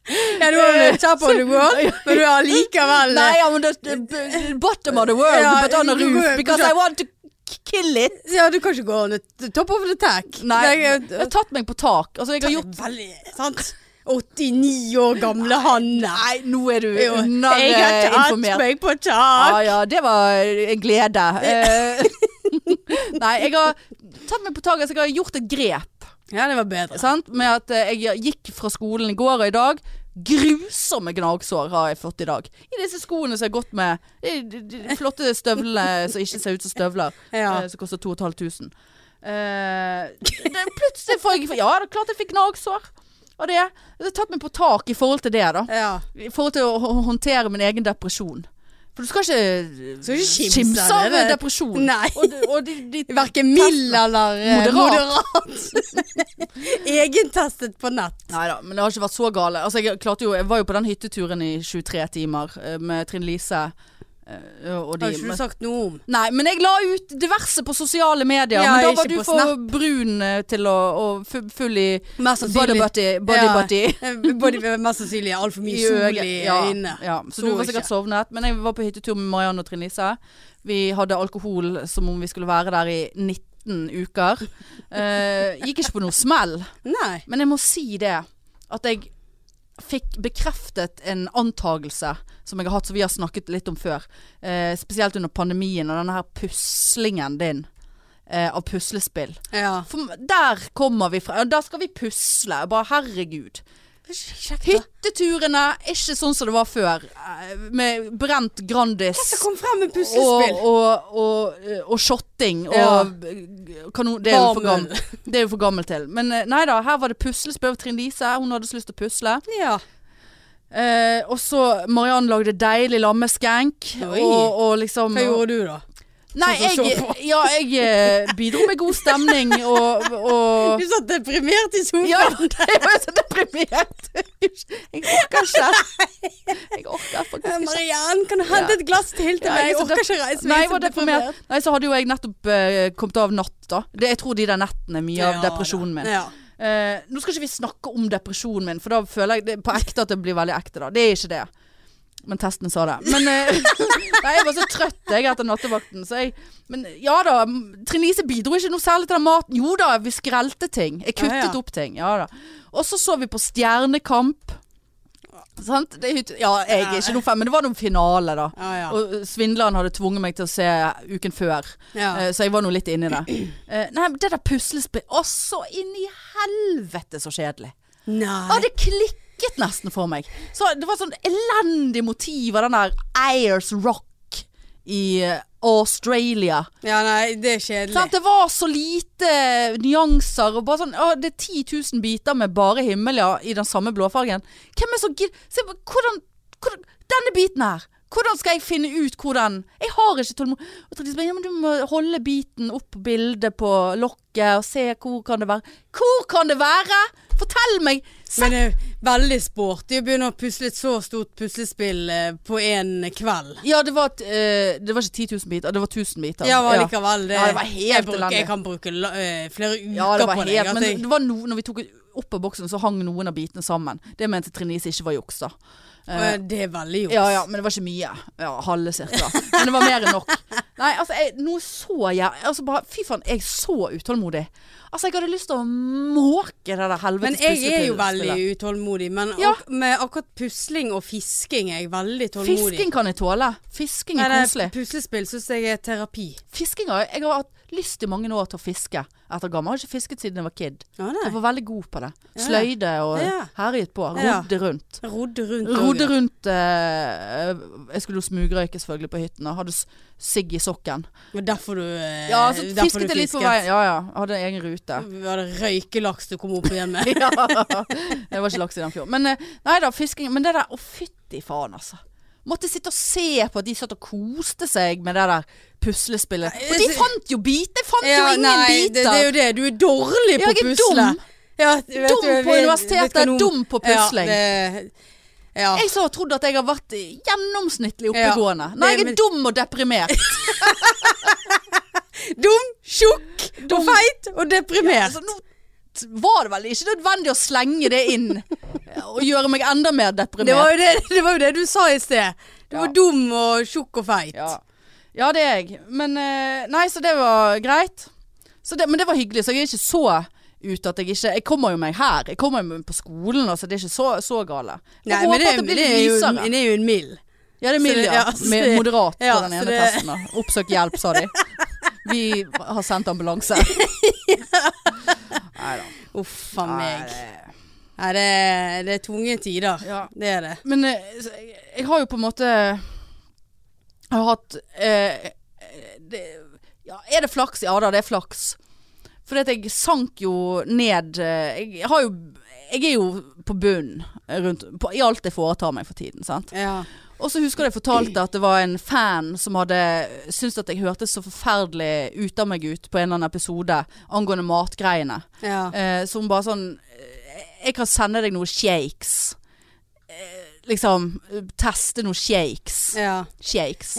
[SPEAKER 1] Ja. ja, du har en kjapp on the world, men du har likevel
[SPEAKER 2] Nei, ja, men det det- eh, bottom of the world,
[SPEAKER 1] Ja,
[SPEAKER 2] but on a
[SPEAKER 1] du-
[SPEAKER 2] roof,
[SPEAKER 1] du-
[SPEAKER 2] because I want to k- kill it.
[SPEAKER 1] Ja, du kan ikke gå on the top of the tack.
[SPEAKER 2] jeg
[SPEAKER 1] det
[SPEAKER 2] har tatt meg på tak. Altså, jeg har
[SPEAKER 1] er
[SPEAKER 2] gjort
[SPEAKER 1] veldig sant. 89 år gamle Hanne.
[SPEAKER 2] Nei, nå er du
[SPEAKER 1] Jo, Jeg har tatt
[SPEAKER 2] narreinformert.
[SPEAKER 1] meg på
[SPEAKER 2] Ja
[SPEAKER 1] tak.
[SPEAKER 2] ja, det var en glede. Eh, Nei, jeg har tatt meg på taket, så jeg har gjort et grep.
[SPEAKER 1] Ja, det var bedre.
[SPEAKER 2] Sant? Med at eh, jeg gikk fra skolen i går og i dag. Grusomme gnagsår har jeg fått i dag. I disse skoene som jeg har gått med. De, de, de flotte støvlene som ikke ser ut som støvler.
[SPEAKER 1] Ja.
[SPEAKER 2] eh, Som koster 2500. Eh, det- plutselig får jeg Ja, det er klart jeg fikk gnagsår. Og det. Jeg har tatt meg på tak i forhold til det, da.
[SPEAKER 1] Ja.
[SPEAKER 2] I forhold til å hå- håndtere min egen depresjon. For du skal ikke,
[SPEAKER 1] Skal ikke kimse
[SPEAKER 2] kimse
[SPEAKER 1] av
[SPEAKER 2] av
[SPEAKER 1] det.
[SPEAKER 2] depresjon.
[SPEAKER 1] Nei.
[SPEAKER 2] Og, de- og de, de,
[SPEAKER 1] Verken mild eller eh,
[SPEAKER 2] Moderat.
[SPEAKER 1] moderat. Egentestet på nett.
[SPEAKER 2] Nei da, men det har ikke vært så gale. Altså, jeg, klarte jo, jeg var jo på den hytteturen i 23 timer eh, med Trine Lise. eh, Og de,
[SPEAKER 1] Har ikke du sagt noe om?
[SPEAKER 2] Nei, men jeg la ut diverse på sosiale medier.
[SPEAKER 1] Ja,
[SPEAKER 2] men da
[SPEAKER 1] ikke
[SPEAKER 2] var du
[SPEAKER 1] på
[SPEAKER 2] for
[SPEAKER 1] Snap.
[SPEAKER 2] brun eh, til å, og fu- full i
[SPEAKER 1] Mest
[SPEAKER 2] body
[SPEAKER 1] sannsynlig.
[SPEAKER 2] body. body,
[SPEAKER 1] Ja. eh, Body,
[SPEAKER 2] body.
[SPEAKER 1] mest sannsynlig er altfor mye
[SPEAKER 2] I
[SPEAKER 1] sol i
[SPEAKER 2] øyet. ja,
[SPEAKER 1] øynene.
[SPEAKER 2] Ja, så
[SPEAKER 1] Så
[SPEAKER 2] du var sikkert
[SPEAKER 1] ikke.
[SPEAKER 2] sovnet. Men jeg var på hyttetur med Marianne og Trine Lise. Vi hadde alkohol som om vi skulle være der i 19 uker. Eh, gikk ikke på noe smell.
[SPEAKER 1] Nei.
[SPEAKER 2] Men jeg må si det at jeg fikk bekreftet en antagelse som jeg har hatt, som vi har snakket litt om før. Eh, spesielt under pandemien og denne her puslingen din eh, av puslespill.
[SPEAKER 1] Ja.
[SPEAKER 2] For der kommer vi fra. Der skal vi pusle. Jeg Bare herregud.
[SPEAKER 1] Kjekt, da.
[SPEAKER 2] Hytteturene er ikke sånn som det var før. eh, Med brent Grandis
[SPEAKER 1] Jeg kom frem med
[SPEAKER 2] og,
[SPEAKER 1] puslespill.
[SPEAKER 2] og, og, og shotting og
[SPEAKER 1] Ja.
[SPEAKER 2] kanon, det, er jo for
[SPEAKER 1] Barmøll.
[SPEAKER 2] gammel, det er jo for gammel til. Men eh, nei da, her var det puslespill av Trine Lise. Hun hadde så lyst til å pusle.
[SPEAKER 1] Ja.
[SPEAKER 2] Eh, og så Mariann lagde deilig lammeskenk.
[SPEAKER 1] Oi.
[SPEAKER 2] Og, og liksom
[SPEAKER 1] Hva gjorde du, da?
[SPEAKER 2] Nei,
[SPEAKER 1] Sånn som
[SPEAKER 2] jeg,
[SPEAKER 1] så
[SPEAKER 2] ja, jeg eh, bidro med god stemning og, og
[SPEAKER 1] Du satt deprimert i sofaen.
[SPEAKER 2] ja, jeg var jo så deprimert. Jeg orker ikke. Jeg orker faktisk ikke.
[SPEAKER 1] Mariann, kan du hente et glass til til
[SPEAKER 2] Ja,
[SPEAKER 1] meg?
[SPEAKER 2] jeg
[SPEAKER 1] Jeg
[SPEAKER 2] er så
[SPEAKER 1] orker ikke reise
[SPEAKER 2] Nei,
[SPEAKER 1] meg.
[SPEAKER 2] jeg var deprimert. Nei, så hadde jo jeg nettopp eh, kommet av natt, da. Det, jeg tror de der nettene er mye av depresjonen min.
[SPEAKER 1] Ja.
[SPEAKER 2] Eh, nå skal ikke vi snakke om depresjonen min, for da føler jeg det, på ekte at det blir veldig ekte, da. Det er ikke det. Men testen sa det. Men eh, Nei, jeg var så trøtt jeg etter nattevakten, så jeg Men ja da. Trine Lise bidro ikke noe særlig til den maten. Jo da, vi skrelte ting. Jeg kuttet
[SPEAKER 1] Ja, ja.
[SPEAKER 2] opp ting. Ja da. Og så så vi på Stjernekamp. Sant? Det, er hyt- ja, jeg er ikke noe fan, men det var noen finale, da.
[SPEAKER 1] Ja, ja.
[SPEAKER 2] Og eh, svindleren hadde tvunget meg til å se uken før,
[SPEAKER 1] ja.
[SPEAKER 2] eh, så jeg var nå litt inni det. Eh, Nei, men det der puslespill Å, så inn i helvete så kjedelig. Ja,
[SPEAKER 1] Nei.
[SPEAKER 2] det klikket nesten for meg. Så det var sånn elendig motiv av den der Ayers Rock i eh, Australia.
[SPEAKER 1] Ja, nei, det er kjedelig.
[SPEAKER 2] Sant? Det var så lite nyanser og bare sånn Å, det er 10 000 biter med bare himmel, ja, i den samme blåfargen. Hvem er så gidd... Se, hvordan, hvordan Denne biten her! Hvordan skal jeg finne ut hvordan Jeg har ikke tålmodighet. Og Trine sier ja, men du må holde biten opp på bildet på lokket og se hvor kan det være. Hvor kan det være?! Fortell meg! Se,
[SPEAKER 1] Men det er veldig sporty å begynne å pusle et så stort puslespill eh, på én kveld.
[SPEAKER 2] ja, det var, et, eh, det var ikke 10 000 biter, det var 1000 biter.
[SPEAKER 1] Ja, men likevel. Det,
[SPEAKER 2] Ja, det var helt
[SPEAKER 1] jeg, bruker,
[SPEAKER 2] elendig.
[SPEAKER 1] jeg kan bruke la- eh, flere uker
[SPEAKER 2] Ja, det var
[SPEAKER 1] på
[SPEAKER 2] helt,
[SPEAKER 1] det. altså. at
[SPEAKER 2] men
[SPEAKER 1] jeg-
[SPEAKER 2] det var no, når vi tok opp av boksen, så hang noen av bitene sammen. Det mente Trine Lise ikke var juks, da. Eh,
[SPEAKER 1] Og det er veldig juks.
[SPEAKER 2] ja, ja, men det var ikke mye. Ja, Halve cirka. Men det var mer enn nok. Nei, altså, jeg, noe så jævlig altså, bare, Fy faen, jeg er så utålmodig. Altså, jeg hadde lyst til å måke det der helvetes
[SPEAKER 1] Men jeg er jo
[SPEAKER 2] puslespillet.
[SPEAKER 1] veldig utålmodig. Men
[SPEAKER 2] Ja.
[SPEAKER 1] ak med akkurat pusling og fisking er jeg veldig tålmodig.
[SPEAKER 2] Fisking kan jeg tåle. Fisking
[SPEAKER 1] Nei,
[SPEAKER 2] er
[SPEAKER 1] det er
[SPEAKER 2] koselig.
[SPEAKER 1] Puslespill syns jeg er terapi.
[SPEAKER 2] Fisking har jeg har hatt lyst i mange år til å fiske etter gammel. Jeg har ikke fisket siden jeg var kid.
[SPEAKER 1] Ja,
[SPEAKER 2] Jeg
[SPEAKER 1] nei.
[SPEAKER 2] var veldig god på det.
[SPEAKER 1] Ja.
[SPEAKER 2] Sløyde og
[SPEAKER 1] Ja.
[SPEAKER 2] herjet på.
[SPEAKER 1] Ja.
[SPEAKER 2] Rodde rundt.
[SPEAKER 1] Rodde rundt.
[SPEAKER 2] Rodde rundt eh, Jeg skulle jo smugrøyke selvfølgelig på hytten. og Hadde s- sigg i sokken.
[SPEAKER 1] Og derfor du eh,
[SPEAKER 2] Ja, så
[SPEAKER 1] derfor
[SPEAKER 2] fisket jeg litt på veien. Ja ja. Hadde egen rute.
[SPEAKER 1] Var det røykelaks du kom opp igjen med?
[SPEAKER 2] Ja. Det var ikke laks i den fjorden. Men eh, nei da, fisking Men det der Å, fytti faen, altså. Måtte sitte og se på at de satt og koste seg med det der puslespillet. Og de fant jo biter! Jeg fant jo ingen
[SPEAKER 1] nei, det,
[SPEAKER 2] biter!
[SPEAKER 1] det er jo det. Du er dårlig på
[SPEAKER 2] Jeg er
[SPEAKER 1] pusle.
[SPEAKER 2] dum.
[SPEAKER 1] Ja, jeg vet
[SPEAKER 2] Dum
[SPEAKER 1] jo, jeg
[SPEAKER 2] på
[SPEAKER 1] vet-
[SPEAKER 2] universitetet,
[SPEAKER 1] vet hva nå-
[SPEAKER 2] dum på pusling.
[SPEAKER 1] Ja, det, ja.
[SPEAKER 2] Jeg så trodd at jeg har vært gjennomsnittlig oppegående.
[SPEAKER 1] Ja.
[SPEAKER 2] Nei, jeg
[SPEAKER 1] Det-
[SPEAKER 2] er
[SPEAKER 1] men-
[SPEAKER 2] dum og deprimert.
[SPEAKER 1] Dum, tjukk og feit og
[SPEAKER 2] Ja,
[SPEAKER 1] deprimert.
[SPEAKER 2] altså, nå t- var det vel ikke nødvendig å slenge det inn og gjøre meg enda mer deprimert.
[SPEAKER 1] det, var jo det, det var jo det du sa i sted. Du
[SPEAKER 2] Ja.
[SPEAKER 1] var dum og tjukk og feit.
[SPEAKER 2] ja. ja, det er jeg. Men eh, Nei, så det var greit. Så det, men det var hyggelig, så jeg er ikke så ute at jeg ikke Jeg kommer jo meg her. Jeg kommer jo meg på skolen, altså. Det er ikke så, så gale. Jeg
[SPEAKER 1] Nei,
[SPEAKER 2] håper
[SPEAKER 1] men det,
[SPEAKER 2] at det blir
[SPEAKER 1] det,
[SPEAKER 2] litt
[SPEAKER 1] er jo,
[SPEAKER 2] lysere.
[SPEAKER 1] det er jo en mild.
[SPEAKER 2] Ja, det er mild,
[SPEAKER 1] Så det-
[SPEAKER 2] ja.
[SPEAKER 1] ja, så
[SPEAKER 2] Med
[SPEAKER 1] det-
[SPEAKER 2] moderat på
[SPEAKER 1] ja,
[SPEAKER 2] den
[SPEAKER 1] så
[SPEAKER 2] ene
[SPEAKER 1] det-
[SPEAKER 2] testen. da. Oppsøk hjelp, sa de. Vi har sendt ambulanse. Nei da.
[SPEAKER 1] Uff a meg. Nei, det, det er tunge tider.
[SPEAKER 2] Ja.
[SPEAKER 1] Det er det.
[SPEAKER 2] Men eh, så jeg, jeg har jo på en måte Jeg har hatt eh, eh, det, ja, Er det flaks? Ja da, det er flaks. Fordi at jeg sank jo ned eh, Jeg har jo Jeg er jo på bunnen rundt på, i alt jeg foretar meg for tiden. sant?
[SPEAKER 1] Ja.
[SPEAKER 2] Og så husker jeg fortalte at det var en fan som hadde syntes at jeg hørtes så forferdelig ut av meg ut på en eller annen episode angående matgreiene.
[SPEAKER 1] ja.
[SPEAKER 2] Eh, som bare sånn eh, Jeg kan sende deg noen shakes. Eh, liksom eh, teste noen shakes.
[SPEAKER 1] ja.
[SPEAKER 2] Shakes.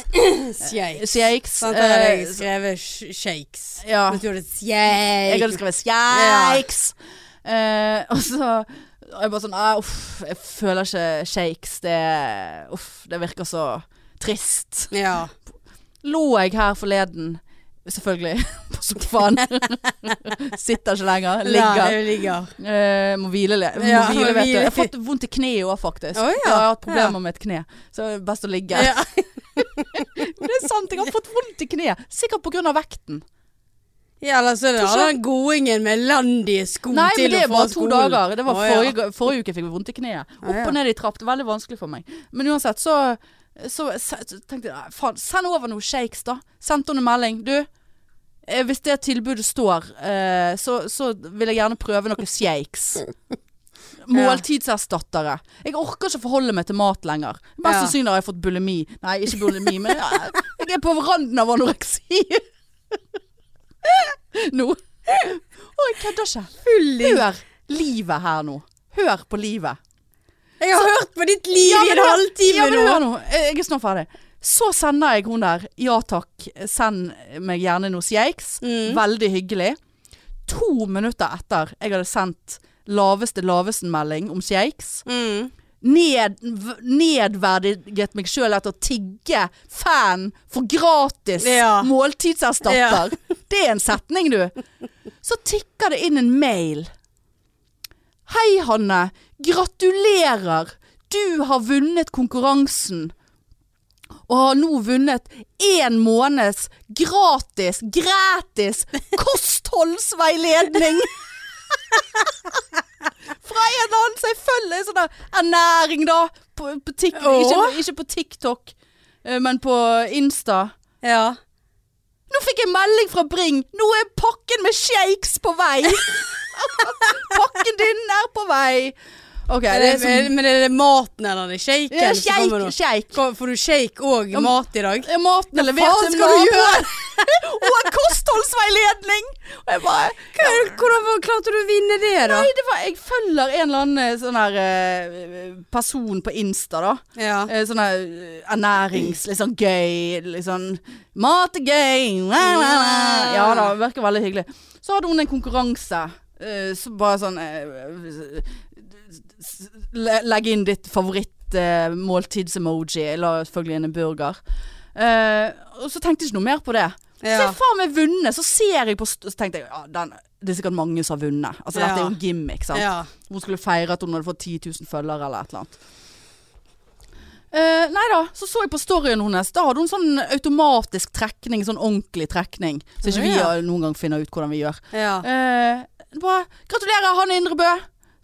[SPEAKER 1] Shakes.
[SPEAKER 2] Shakes.
[SPEAKER 1] Sant, der hadde jeg
[SPEAKER 2] eh,
[SPEAKER 1] skrevet sh- shakes.
[SPEAKER 2] ja.
[SPEAKER 1] Men du hadde
[SPEAKER 2] Jeg hadde
[SPEAKER 1] shakes.
[SPEAKER 2] skrevet shakes. Eh, og så og jeg bare sånn «Ah, Uff, jeg føler ikke shakes. Det, uff, det virker så trist.
[SPEAKER 1] Ja.
[SPEAKER 2] Lå jeg her forleden, selvfølgelig, på sofaen. Sitter ikke lenger.
[SPEAKER 1] Nei,
[SPEAKER 2] Ligger.
[SPEAKER 1] jeg ligger.
[SPEAKER 2] Eh, må hvile, le- må
[SPEAKER 1] Ja,
[SPEAKER 2] hvile vet du.
[SPEAKER 1] hvile.
[SPEAKER 2] Jeg har fått vondt i kneet òg, faktisk.
[SPEAKER 1] Å, ja.
[SPEAKER 2] Jeg har hatt problemer
[SPEAKER 1] Ja.
[SPEAKER 2] med et kne, så det er best å ligge.
[SPEAKER 1] Ja.
[SPEAKER 2] Men det er sant, jeg har fått vondt i kneet. Sikkert pga. vekten.
[SPEAKER 1] Ja, eller så er det
[SPEAKER 2] Tror ikke-
[SPEAKER 1] all den godingen med landige sko
[SPEAKER 2] Nei,
[SPEAKER 1] til
[SPEAKER 2] men det
[SPEAKER 1] og fra
[SPEAKER 2] var to
[SPEAKER 1] skolen.
[SPEAKER 2] dager. Det var
[SPEAKER 1] Å, ja.
[SPEAKER 2] forrige, ga- forrige uke jeg fikk vondt i kneet. Opp
[SPEAKER 1] ja.
[SPEAKER 2] og ned i trapp. Det var veldig vanskelig for meg. Men uansett, så, så, så tenkte jeg "Nei, faen, send over noe shakes, da. Sendte hun en melding. Du, eh, hvis det tilbudet står, eh, så, så vil jeg gjerne prøve noen shakes. Måltidserstattere. Jeg orker ikke forholde meg til mat lenger. Mest
[SPEAKER 1] Ja.
[SPEAKER 2] sannsynlig har jeg fått bulimi. Nei, ikke bulimi, men jeg, jeg er på randen av anoreksi. Nå. Å, jeg kødder ikke.
[SPEAKER 1] Fulling.
[SPEAKER 2] Hør livet her nå. Hør på livet.
[SPEAKER 1] Jeg har hørt på ditt liv i en
[SPEAKER 2] hør- ja,
[SPEAKER 1] halvtime
[SPEAKER 2] men
[SPEAKER 1] nå.
[SPEAKER 2] hør nå. Eh, Jeg er snart ferdig. Så sender jeg hun der ja takk, send meg gjerne noe shakes.
[SPEAKER 1] Mm.
[SPEAKER 2] Veldig hyggelig. To minutter etter jeg hadde sendt laveste lavesen-melding om shakes,
[SPEAKER 1] Mm.
[SPEAKER 2] ned, v- nedverdiget meg sjøl etter å tigge fan for gratis
[SPEAKER 1] Ja.
[SPEAKER 2] måltidserstatter. Det er en setning, du. Så tikker det inn en mail. Hei, Hanne. Gratulerer! Du har vunnet konkurransen. Og har nå vunnet én måneds gratis, gratis kostholdsveiledning! Fra en eller annen som jeg følger i sånn der ernæring, da. På, på Tik-
[SPEAKER 1] Åh.
[SPEAKER 2] ikke, ikke på TikTok, eh, men på Insta.
[SPEAKER 1] Ja.
[SPEAKER 2] Nå fikk jeg melding fra Bring. Nå er pakken med shakes på vei. pakken din er på vei. OK,
[SPEAKER 1] Er
[SPEAKER 2] det
[SPEAKER 1] det,
[SPEAKER 2] er som
[SPEAKER 1] men er det maten eller er det shaken?
[SPEAKER 2] ja,
[SPEAKER 1] som kommer nå?
[SPEAKER 2] Shake. shake.
[SPEAKER 1] Ko- Får du shake og
[SPEAKER 2] Ja, men-
[SPEAKER 1] mat i dag?
[SPEAKER 2] Er Maten er levert
[SPEAKER 1] faen
[SPEAKER 2] til
[SPEAKER 1] skal du
[SPEAKER 2] naboen. Og en kostholdsveiledning! Og jeg bare
[SPEAKER 1] Hva er det- Hvordan klarte du å vinne det, da?
[SPEAKER 2] Nei, det var, jeg følger en eller annen eh, sånn her eh, person på Insta, da.
[SPEAKER 1] Ja.
[SPEAKER 2] Eh, Sånn her eh, ernærings... Litt sånn gøy. Litt sånn Mat er gøy! la, la, la. Ja da, virker veldig hyggelig. Så hadde hun en konkurranse. eh, Så bare sånn eh, s- s- le- Legg inn ditt favoritt et eh, måltidsemoji. Jeg la selvfølgelig inn en burger. Eh, og så tenkte jeg ikke noe mer på det. Så
[SPEAKER 1] Ja.
[SPEAKER 2] jeg faen meg vunnet. Så ser jeg på st Så tenkte jeg ja, den, det er sikkert mange som har vunnet. Altså dette er jo
[SPEAKER 1] Ja.
[SPEAKER 2] en gimmick, sant.
[SPEAKER 1] ja.
[SPEAKER 2] Hun skulle feire at hun hadde fått 10 000 følgere eller et eller annet. Eh, nei da, så så jeg på storyen hennes. Da hadde hun sånn automatisk trekning, sånn ordentlig trekning. Så ikke vi
[SPEAKER 1] Ja.
[SPEAKER 2] har- noen gang finner ut hvordan vi gjør.
[SPEAKER 1] ja.
[SPEAKER 2] Eh, bare, Gratulerer, Hanne Indrebø.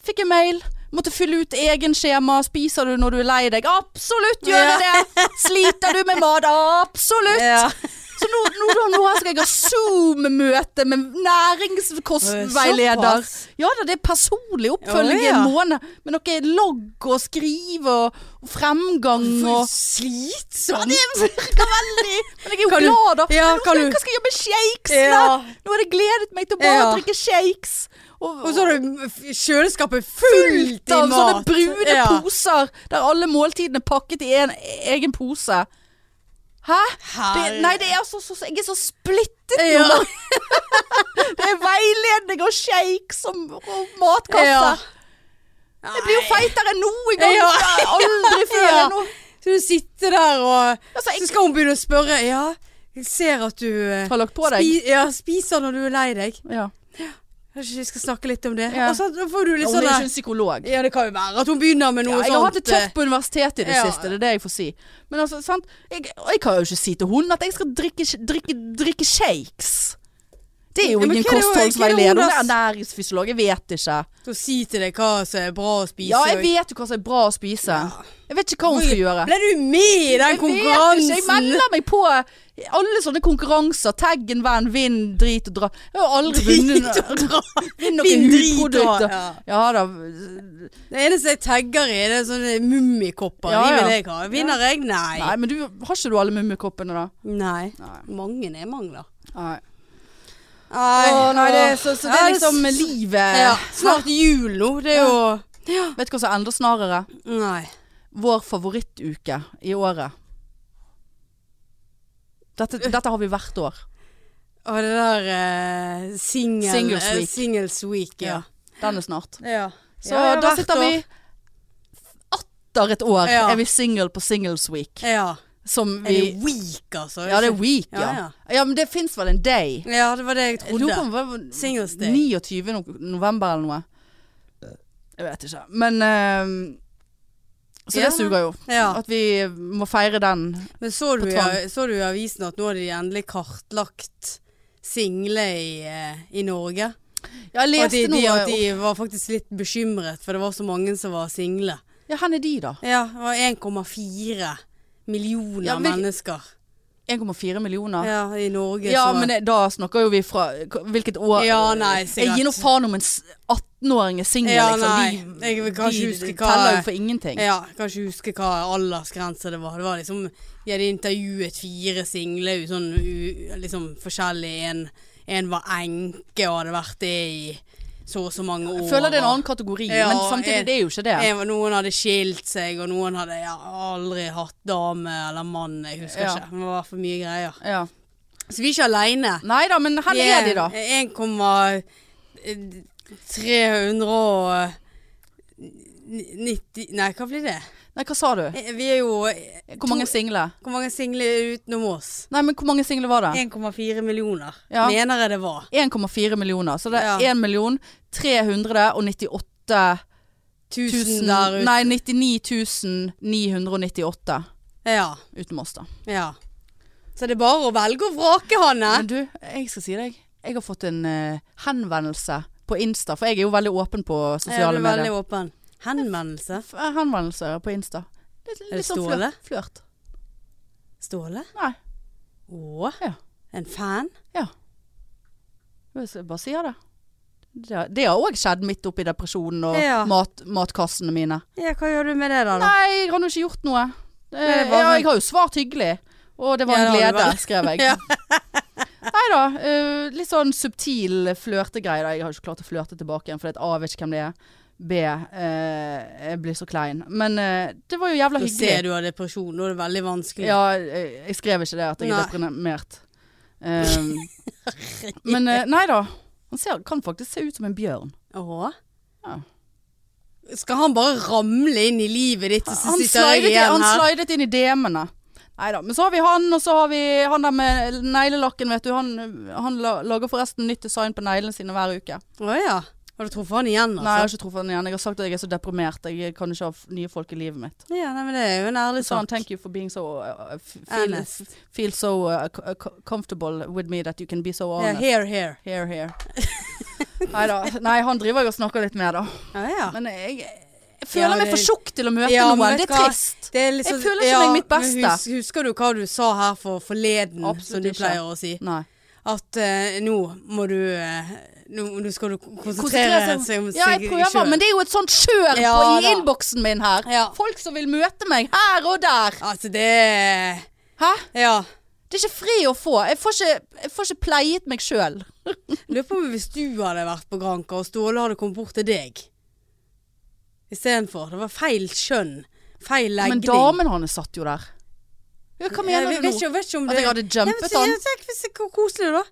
[SPEAKER 2] Fikk en mail. Måtte fylle ut egen skjema. Spiser du når du er lei deg? Absolutt gjør jeg det! Sliter du med mat? Absolutt!
[SPEAKER 1] ja.
[SPEAKER 2] Så nå, nå, nå, nå skal jeg ha Zoom-møte med næringskostveileder.
[SPEAKER 1] Såpass.
[SPEAKER 2] Ja da, det er personlig oppfølging
[SPEAKER 1] Å, ja.
[SPEAKER 2] i en måned. Med noe logg og skrive og, og fremgang
[SPEAKER 1] For
[SPEAKER 2] og Ja,
[SPEAKER 1] Slitsomt!
[SPEAKER 2] det virker veldig Men jeg er jo
[SPEAKER 1] Kan du-
[SPEAKER 2] glad, da.
[SPEAKER 1] Ja,
[SPEAKER 2] Men nå
[SPEAKER 1] kan
[SPEAKER 2] skal,
[SPEAKER 1] du-
[SPEAKER 2] hva skal jeg gjøre med shakes?
[SPEAKER 1] Ja.
[SPEAKER 2] da? Nå har jeg gledet meg til bare å
[SPEAKER 1] Ja.
[SPEAKER 2] drikke shakes.
[SPEAKER 1] Og så har du f- kjøleskapet fullt i
[SPEAKER 2] av
[SPEAKER 1] mat.
[SPEAKER 2] sånne brune
[SPEAKER 1] Ja.
[SPEAKER 2] poser der alle måltidene er pakket i en egen pose. Hæ? Det,
[SPEAKER 1] Herre.
[SPEAKER 2] nei, det er altså så, så, jeg er så splittet
[SPEAKER 1] Ja.
[SPEAKER 2] nå. det er veiledning og shakes og, og matkasse.
[SPEAKER 1] Ja.
[SPEAKER 2] Jeg blir jo feitere enn noen gang.
[SPEAKER 1] Ja.
[SPEAKER 2] Aldri før.
[SPEAKER 1] Ja.
[SPEAKER 2] Nå.
[SPEAKER 1] Så du sitter der og
[SPEAKER 2] Altså, jeg-
[SPEAKER 1] Så skal hun begynne å spørre Ja, jeg ser at du eh,
[SPEAKER 2] Har lagt på deg.
[SPEAKER 1] spi- ja, spiser når du er lei deg.
[SPEAKER 2] Ja.
[SPEAKER 1] Kanskje vi skal snakke litt om det?
[SPEAKER 2] Ja.
[SPEAKER 1] Og så da får du litt
[SPEAKER 2] Hun er
[SPEAKER 1] sånn
[SPEAKER 2] ikke
[SPEAKER 1] der-
[SPEAKER 2] en psykolog.
[SPEAKER 1] Ja, det kan jo være at hun begynner med
[SPEAKER 2] Ja,
[SPEAKER 1] noe
[SPEAKER 2] jeg
[SPEAKER 1] sånt. eh,
[SPEAKER 2] har hatt det tøft på universitetet i det
[SPEAKER 1] Ja.
[SPEAKER 2] siste, det er det jeg får si. Men altså, sant? Jeg, og jeg kan jo ikke si til hun at jeg skal drikke, drikke, drikke shakes. Det er jo
[SPEAKER 1] Ja, men
[SPEAKER 2] ingen
[SPEAKER 1] hva er det hun- hva er
[SPEAKER 2] kostholdsveileder.
[SPEAKER 1] det
[SPEAKER 2] Hun
[SPEAKER 1] hun
[SPEAKER 2] er
[SPEAKER 1] da-
[SPEAKER 2] ernæringsfysiolog, jeg vet ikke.
[SPEAKER 1] Så si til deg hva som er bra å spise.
[SPEAKER 2] Ja, jeg
[SPEAKER 1] og-
[SPEAKER 2] vet jo hva som er bra å spise. Jeg vet ikke hva hun skal gjøre.
[SPEAKER 1] Ble du med i den
[SPEAKER 2] Jeg vet ikke, Jeg
[SPEAKER 1] konkurransen?
[SPEAKER 2] melder meg på alle sånne konkurranser. Taggen, venn, vinn, drit og dra. Jeg har aldri vunnet
[SPEAKER 1] Drit og dra.
[SPEAKER 2] vinn
[SPEAKER 1] Vinn,
[SPEAKER 2] noen
[SPEAKER 1] drit og dra,
[SPEAKER 2] hudprodukter.
[SPEAKER 1] ja.
[SPEAKER 2] Ja da.
[SPEAKER 1] Det eneste jeg tagger i, det er sånne mummikopper.
[SPEAKER 2] Ja,
[SPEAKER 1] De
[SPEAKER 2] ja.
[SPEAKER 1] vil jeg ha. Vinner jeg? Nei.
[SPEAKER 2] Nei, men du har ikke du alle mummekoppene da?
[SPEAKER 1] Nei.
[SPEAKER 2] Nei.
[SPEAKER 1] Mange er mangler.
[SPEAKER 2] Nei.
[SPEAKER 1] Nei,
[SPEAKER 2] Å, nei, det, er så, så det
[SPEAKER 1] Ja,
[SPEAKER 2] er liksom
[SPEAKER 1] s-
[SPEAKER 2] livet
[SPEAKER 1] ja, Snart jul nå. Det er jo
[SPEAKER 2] Vet du hva som ender snarere?
[SPEAKER 1] Nei.
[SPEAKER 2] Vår favorittuke i året. Dette, dette har vi hvert år.
[SPEAKER 1] Og det der eh, singel
[SPEAKER 2] Singles
[SPEAKER 1] eh,
[SPEAKER 2] week.
[SPEAKER 1] Singles week, ja.
[SPEAKER 2] Den er snart.
[SPEAKER 1] ja.
[SPEAKER 2] Så
[SPEAKER 1] Ja, ja,
[SPEAKER 2] da
[SPEAKER 1] hvert
[SPEAKER 2] sitter
[SPEAKER 1] år.
[SPEAKER 2] vi atter et år
[SPEAKER 1] Ja.
[SPEAKER 2] er vi single på Singles Week.
[SPEAKER 1] Ja.
[SPEAKER 2] Som
[SPEAKER 1] Er det
[SPEAKER 2] vi
[SPEAKER 1] week, altså?
[SPEAKER 2] Ja, det er week, ja.
[SPEAKER 1] Ja,
[SPEAKER 2] Ja,
[SPEAKER 1] ja.
[SPEAKER 2] men det fins vel en day?
[SPEAKER 1] Ja, det var det jeg
[SPEAKER 2] Jeg lurer på
[SPEAKER 1] trodde.
[SPEAKER 2] om det var
[SPEAKER 1] Singles day.
[SPEAKER 2] 29. no- november eller noe. Jeg vet ikke. Men eh, Så
[SPEAKER 1] Ja.
[SPEAKER 2] det suger jo.
[SPEAKER 1] Ja.
[SPEAKER 2] At vi må feire den.
[SPEAKER 1] Men så du,
[SPEAKER 2] På
[SPEAKER 1] i-
[SPEAKER 2] tvang.
[SPEAKER 1] så du i avisen at nå har de endelig kartlagt single i, eh, i Norge?
[SPEAKER 2] Ja, jeg
[SPEAKER 1] Og at
[SPEAKER 2] leste
[SPEAKER 1] de, de,
[SPEAKER 2] noe
[SPEAKER 1] at de var faktisk litt bekymret, for det var så mange som var single.
[SPEAKER 2] Ja, hvor er de, da?
[SPEAKER 1] Ja, det var 1,4 millioner
[SPEAKER 2] Ja, hvil-
[SPEAKER 1] mennesker
[SPEAKER 2] 1,4 millioner? Ja,
[SPEAKER 1] ja, i Norge. så-
[SPEAKER 2] men det- da snakker jo vi fra k- Hvilket år
[SPEAKER 1] Ja, nei, sikkert.
[SPEAKER 2] Jeg gir nå faen om en s- 18-åring er singel,
[SPEAKER 1] Ja,
[SPEAKER 2] liksom.
[SPEAKER 1] nei.
[SPEAKER 2] De,
[SPEAKER 1] Jeg vil kanskje
[SPEAKER 2] de
[SPEAKER 1] huske hva-
[SPEAKER 2] teller jo for ingenting.
[SPEAKER 1] Ja, jeg kan ikke huske hva aldersgrense det var. Det var liksom, De hadde intervjuet fire single, u- sånn u- liksom forskjellig. En, en var enke og hadde vært det i så og så mange år.
[SPEAKER 2] Jeg føler det er en
[SPEAKER 1] og-
[SPEAKER 2] annen kategori,
[SPEAKER 1] Ja,
[SPEAKER 2] men samtidig
[SPEAKER 1] jeg-
[SPEAKER 2] det er jo ikke det.
[SPEAKER 1] en var- Noen hadde skilt seg, og noen hadde ja, aldri hatt dame eller mann. Jeg husker
[SPEAKER 2] Ja.
[SPEAKER 1] ikke. Det var for mye greier.
[SPEAKER 2] Ja.
[SPEAKER 1] Så vi er ikke aleine.
[SPEAKER 2] Nei da, men hvor er de, da?
[SPEAKER 1] eh, 1,390 Nei, hva blir det?
[SPEAKER 2] Nei, hva sa du?
[SPEAKER 1] Eh, Vi er jo
[SPEAKER 2] Hvor mange single?
[SPEAKER 1] Hvor mange single er utenom oss?
[SPEAKER 2] Nei, men hvor mange single var det?
[SPEAKER 1] 1,4 millioner,
[SPEAKER 2] Ja.
[SPEAKER 1] mener jeg det var.
[SPEAKER 2] 1,4 millioner. Så det er
[SPEAKER 1] Ja.
[SPEAKER 2] 1 million 398
[SPEAKER 1] Tusen,
[SPEAKER 2] 000
[SPEAKER 1] der ute.
[SPEAKER 2] Nei, 99 998
[SPEAKER 1] Ja,
[SPEAKER 2] utenom oss, da.
[SPEAKER 1] ja. Så det er bare å velge og vrake, Hanne.
[SPEAKER 2] Men du, jeg skal si deg. Jeg har fått en eh, henvendelse på Insta, for jeg er jo veldig åpen på
[SPEAKER 1] Ja, du
[SPEAKER 2] sosiale
[SPEAKER 1] er veldig
[SPEAKER 2] medier.
[SPEAKER 1] åpen. Henvendelse.
[SPEAKER 2] F- Henvendelse på Insta. Litt,
[SPEAKER 1] det
[SPEAKER 2] litt sånn flørt.
[SPEAKER 1] Ståle?
[SPEAKER 2] flørt.
[SPEAKER 1] Ståle?
[SPEAKER 2] Nei.
[SPEAKER 1] Å,
[SPEAKER 2] Ja.
[SPEAKER 1] en fan?
[SPEAKER 2] Ja. Jeg bare sier det. Det har- Det har òg skjedd midt oppi depresjonen og
[SPEAKER 1] Ja.
[SPEAKER 2] mat, matkassene mine.
[SPEAKER 1] Ja, hva gjør du med det da? da?
[SPEAKER 2] Nei, jeg har nå ikke gjort noe. Eh,
[SPEAKER 1] det var
[SPEAKER 2] ja,
[SPEAKER 1] sånn-
[SPEAKER 2] jeg har jo svart hyggelig. Og det var
[SPEAKER 1] Ja,
[SPEAKER 2] en
[SPEAKER 1] det har du
[SPEAKER 2] glede,
[SPEAKER 1] vel.
[SPEAKER 2] skrev jeg.
[SPEAKER 1] Ja.
[SPEAKER 2] Nei da. eh, litt sånn subtil flørtegreie. da. Jeg har jo ikke klart å flørte tilbake igjen, for det er et A, jeg vet ikke hvem det er. B, eh, jeg blir så klein. Men eh, det var jo
[SPEAKER 1] Da
[SPEAKER 2] jævla hyggelig.
[SPEAKER 1] ser du har depresjon, nå er det veldig vanskelig.
[SPEAKER 2] Ja, eh, jeg skrev ikke det at jeg er
[SPEAKER 1] Nei.
[SPEAKER 2] deprimert. Um, men eh, nei da. Han ser, kan faktisk se ut som en bjørn.
[SPEAKER 1] Å?
[SPEAKER 2] Ja.
[SPEAKER 1] Skal han bare ramle inn i livet ditt, og så
[SPEAKER 2] Han
[SPEAKER 1] sitter jeg
[SPEAKER 2] slidet, i-
[SPEAKER 1] igjen
[SPEAKER 2] han
[SPEAKER 1] her?
[SPEAKER 2] slidet inn i DM-ene. Neida, Men så har vi han, og så har vi han der med neglelakken, vet du. Han, han la- lager forresten nytt design på neglene sine hver uke.
[SPEAKER 1] Å ja. Har du truffet han igjen,
[SPEAKER 2] Nei, jeg
[SPEAKER 1] altså?
[SPEAKER 2] har ikke truffet han igjen. Jeg har sagt at jeg er så deprimert. Jeg kan ikke ha f- nye folk i livet mitt.
[SPEAKER 1] Ja, nei, men det er jo en ærlig
[SPEAKER 2] Så sa han
[SPEAKER 1] sak.
[SPEAKER 2] 'thank you for being so uh, f- feel,
[SPEAKER 1] Altså, Honest.
[SPEAKER 2] f- feel so uh, co- uh, co- comfortable with me that you can be so
[SPEAKER 1] Ja,
[SPEAKER 2] honest'.
[SPEAKER 1] here, here.
[SPEAKER 2] Here, here. Neida. Nei, han driver jeg og snakker litt med, da.
[SPEAKER 1] Ja, ja.
[SPEAKER 2] Men jeg, jeg føler
[SPEAKER 1] Ja,
[SPEAKER 2] meg
[SPEAKER 1] det-
[SPEAKER 2] for tjukk til å møte
[SPEAKER 1] Ja, men
[SPEAKER 2] noen. Det
[SPEAKER 1] vet
[SPEAKER 2] er
[SPEAKER 1] du hva?
[SPEAKER 2] trist.
[SPEAKER 1] Det er litt
[SPEAKER 2] Jeg
[SPEAKER 1] sånn-
[SPEAKER 2] føler ikke meg mitt
[SPEAKER 1] men
[SPEAKER 2] beste.
[SPEAKER 1] Hus, husker du hva du sa her for forleden, som
[SPEAKER 2] Absolutt
[SPEAKER 1] du
[SPEAKER 2] ikke.
[SPEAKER 1] pleier å si?
[SPEAKER 2] Nei.
[SPEAKER 1] At eh, nå må du eh, Nå nå skal du konsentrere
[SPEAKER 2] Konsentrere
[SPEAKER 1] seg om
[SPEAKER 2] Ja, jeg prøver, men det er jo et sånt kjør
[SPEAKER 1] Ja,
[SPEAKER 2] på, i
[SPEAKER 1] da.
[SPEAKER 2] innboksen min her.
[SPEAKER 1] Ja.
[SPEAKER 2] Folk som vil møte meg her og der.
[SPEAKER 1] Altså, det er-
[SPEAKER 2] Hæ?
[SPEAKER 1] Ja.
[SPEAKER 2] Det er ikke fri å få. Jeg får ikke, jeg får ikke pleiet meg sjøl.
[SPEAKER 1] Lurer på om hvis du hadde vært på Granka, og Ståle hadde kommet bort til deg istedenfor. Det var feil kjønn. Feil legning.
[SPEAKER 2] Men damen hans satt jo der. Ja, hva
[SPEAKER 1] Jeg
[SPEAKER 2] mener
[SPEAKER 1] vet-
[SPEAKER 2] du
[SPEAKER 1] vet
[SPEAKER 2] nå?
[SPEAKER 1] ikke, vet ikke om
[SPEAKER 2] At
[SPEAKER 1] det-
[SPEAKER 2] jeg hadde
[SPEAKER 1] Nei, men
[SPEAKER 2] jumpet
[SPEAKER 1] så-
[SPEAKER 2] han? Ah,
[SPEAKER 1] ja, Tenk hvis hvor koselig, da.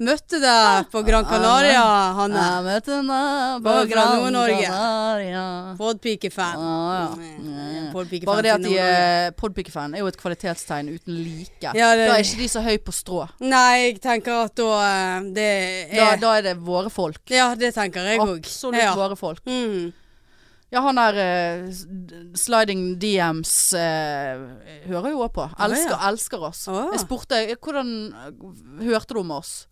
[SPEAKER 1] Møtte deg på Gran Canaria, Hanne.
[SPEAKER 2] Jeg møtte henne på
[SPEAKER 1] Bare fra
[SPEAKER 2] Gran
[SPEAKER 1] Nord-Norge.
[SPEAKER 2] Canaria.
[SPEAKER 1] Podpikefan.
[SPEAKER 2] Ah, ja.
[SPEAKER 1] Podpikefan
[SPEAKER 2] Bare det at
[SPEAKER 1] til
[SPEAKER 2] de eh,
[SPEAKER 1] Nord-Norge.
[SPEAKER 2] er podpikefan, er jo et kvalitetstegn uten like.
[SPEAKER 1] Ja, det-
[SPEAKER 2] Da er ikke de så høy på strå.
[SPEAKER 1] Nei, jeg tenker at da eh, Det
[SPEAKER 2] Da,
[SPEAKER 1] er
[SPEAKER 2] da er det våre folk.
[SPEAKER 1] Ja, det tenker jeg òg.
[SPEAKER 2] Absolutt
[SPEAKER 1] Ja.
[SPEAKER 2] våre folk.
[SPEAKER 1] Mm.
[SPEAKER 2] Ja, han der eh, s- d- Sliding DMs eh, hører jo òg på.
[SPEAKER 1] ja.
[SPEAKER 2] Elsker, elsker oss.
[SPEAKER 1] Ah.
[SPEAKER 2] Jeg spurte eh, hvordan eh, hørte du om oss?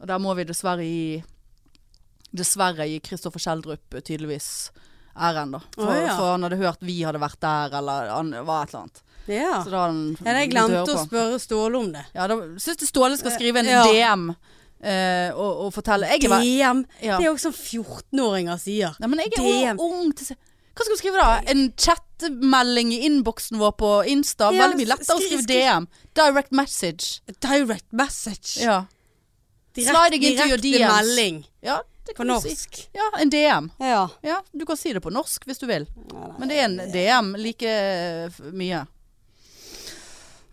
[SPEAKER 2] Og der må vi dessverre gi Dessverre gi Kristoffer Schjelderup eh, tydeligvis æren, da. For,
[SPEAKER 1] Ah, ja.
[SPEAKER 2] for han hadde hørt vi hadde vært der, eller han var et eller annet.
[SPEAKER 1] Ja.
[SPEAKER 2] Så da har han
[SPEAKER 1] ja. Jeg
[SPEAKER 2] begynt
[SPEAKER 1] glemte
[SPEAKER 2] høre
[SPEAKER 1] å
[SPEAKER 2] på.
[SPEAKER 1] spørre Ståle om det.
[SPEAKER 2] Ja, da syns jeg Ståle skal skrive en
[SPEAKER 1] Ja.
[SPEAKER 2] DM eh, og, og fortelle. Jeg er, ve-
[SPEAKER 1] DM.
[SPEAKER 2] ja.
[SPEAKER 1] Det er jo sånn 14-åringer sier.
[SPEAKER 2] Nei, men jeg er
[SPEAKER 1] DM.
[SPEAKER 2] jo ung til å se- Hva skal du skrive da? En chatmelding i innboksen vår på Insta?
[SPEAKER 1] Ja,
[SPEAKER 2] Veldig mye lettere å
[SPEAKER 1] skri-
[SPEAKER 2] skrive
[SPEAKER 1] skri-
[SPEAKER 2] DM. Direct message.
[SPEAKER 1] Direct message.
[SPEAKER 2] Ja, Slide
[SPEAKER 1] Direkt,
[SPEAKER 2] deg into your
[SPEAKER 1] direkte
[SPEAKER 2] DMs.
[SPEAKER 1] melding
[SPEAKER 2] ja det
[SPEAKER 1] på
[SPEAKER 2] kan du si.
[SPEAKER 1] norsk.
[SPEAKER 2] Ja, en DM.
[SPEAKER 1] Ja.
[SPEAKER 2] Ja, du kan si det på norsk hvis du vil.
[SPEAKER 1] Ja, nei.
[SPEAKER 2] Men det er en DM like eh, f- mye.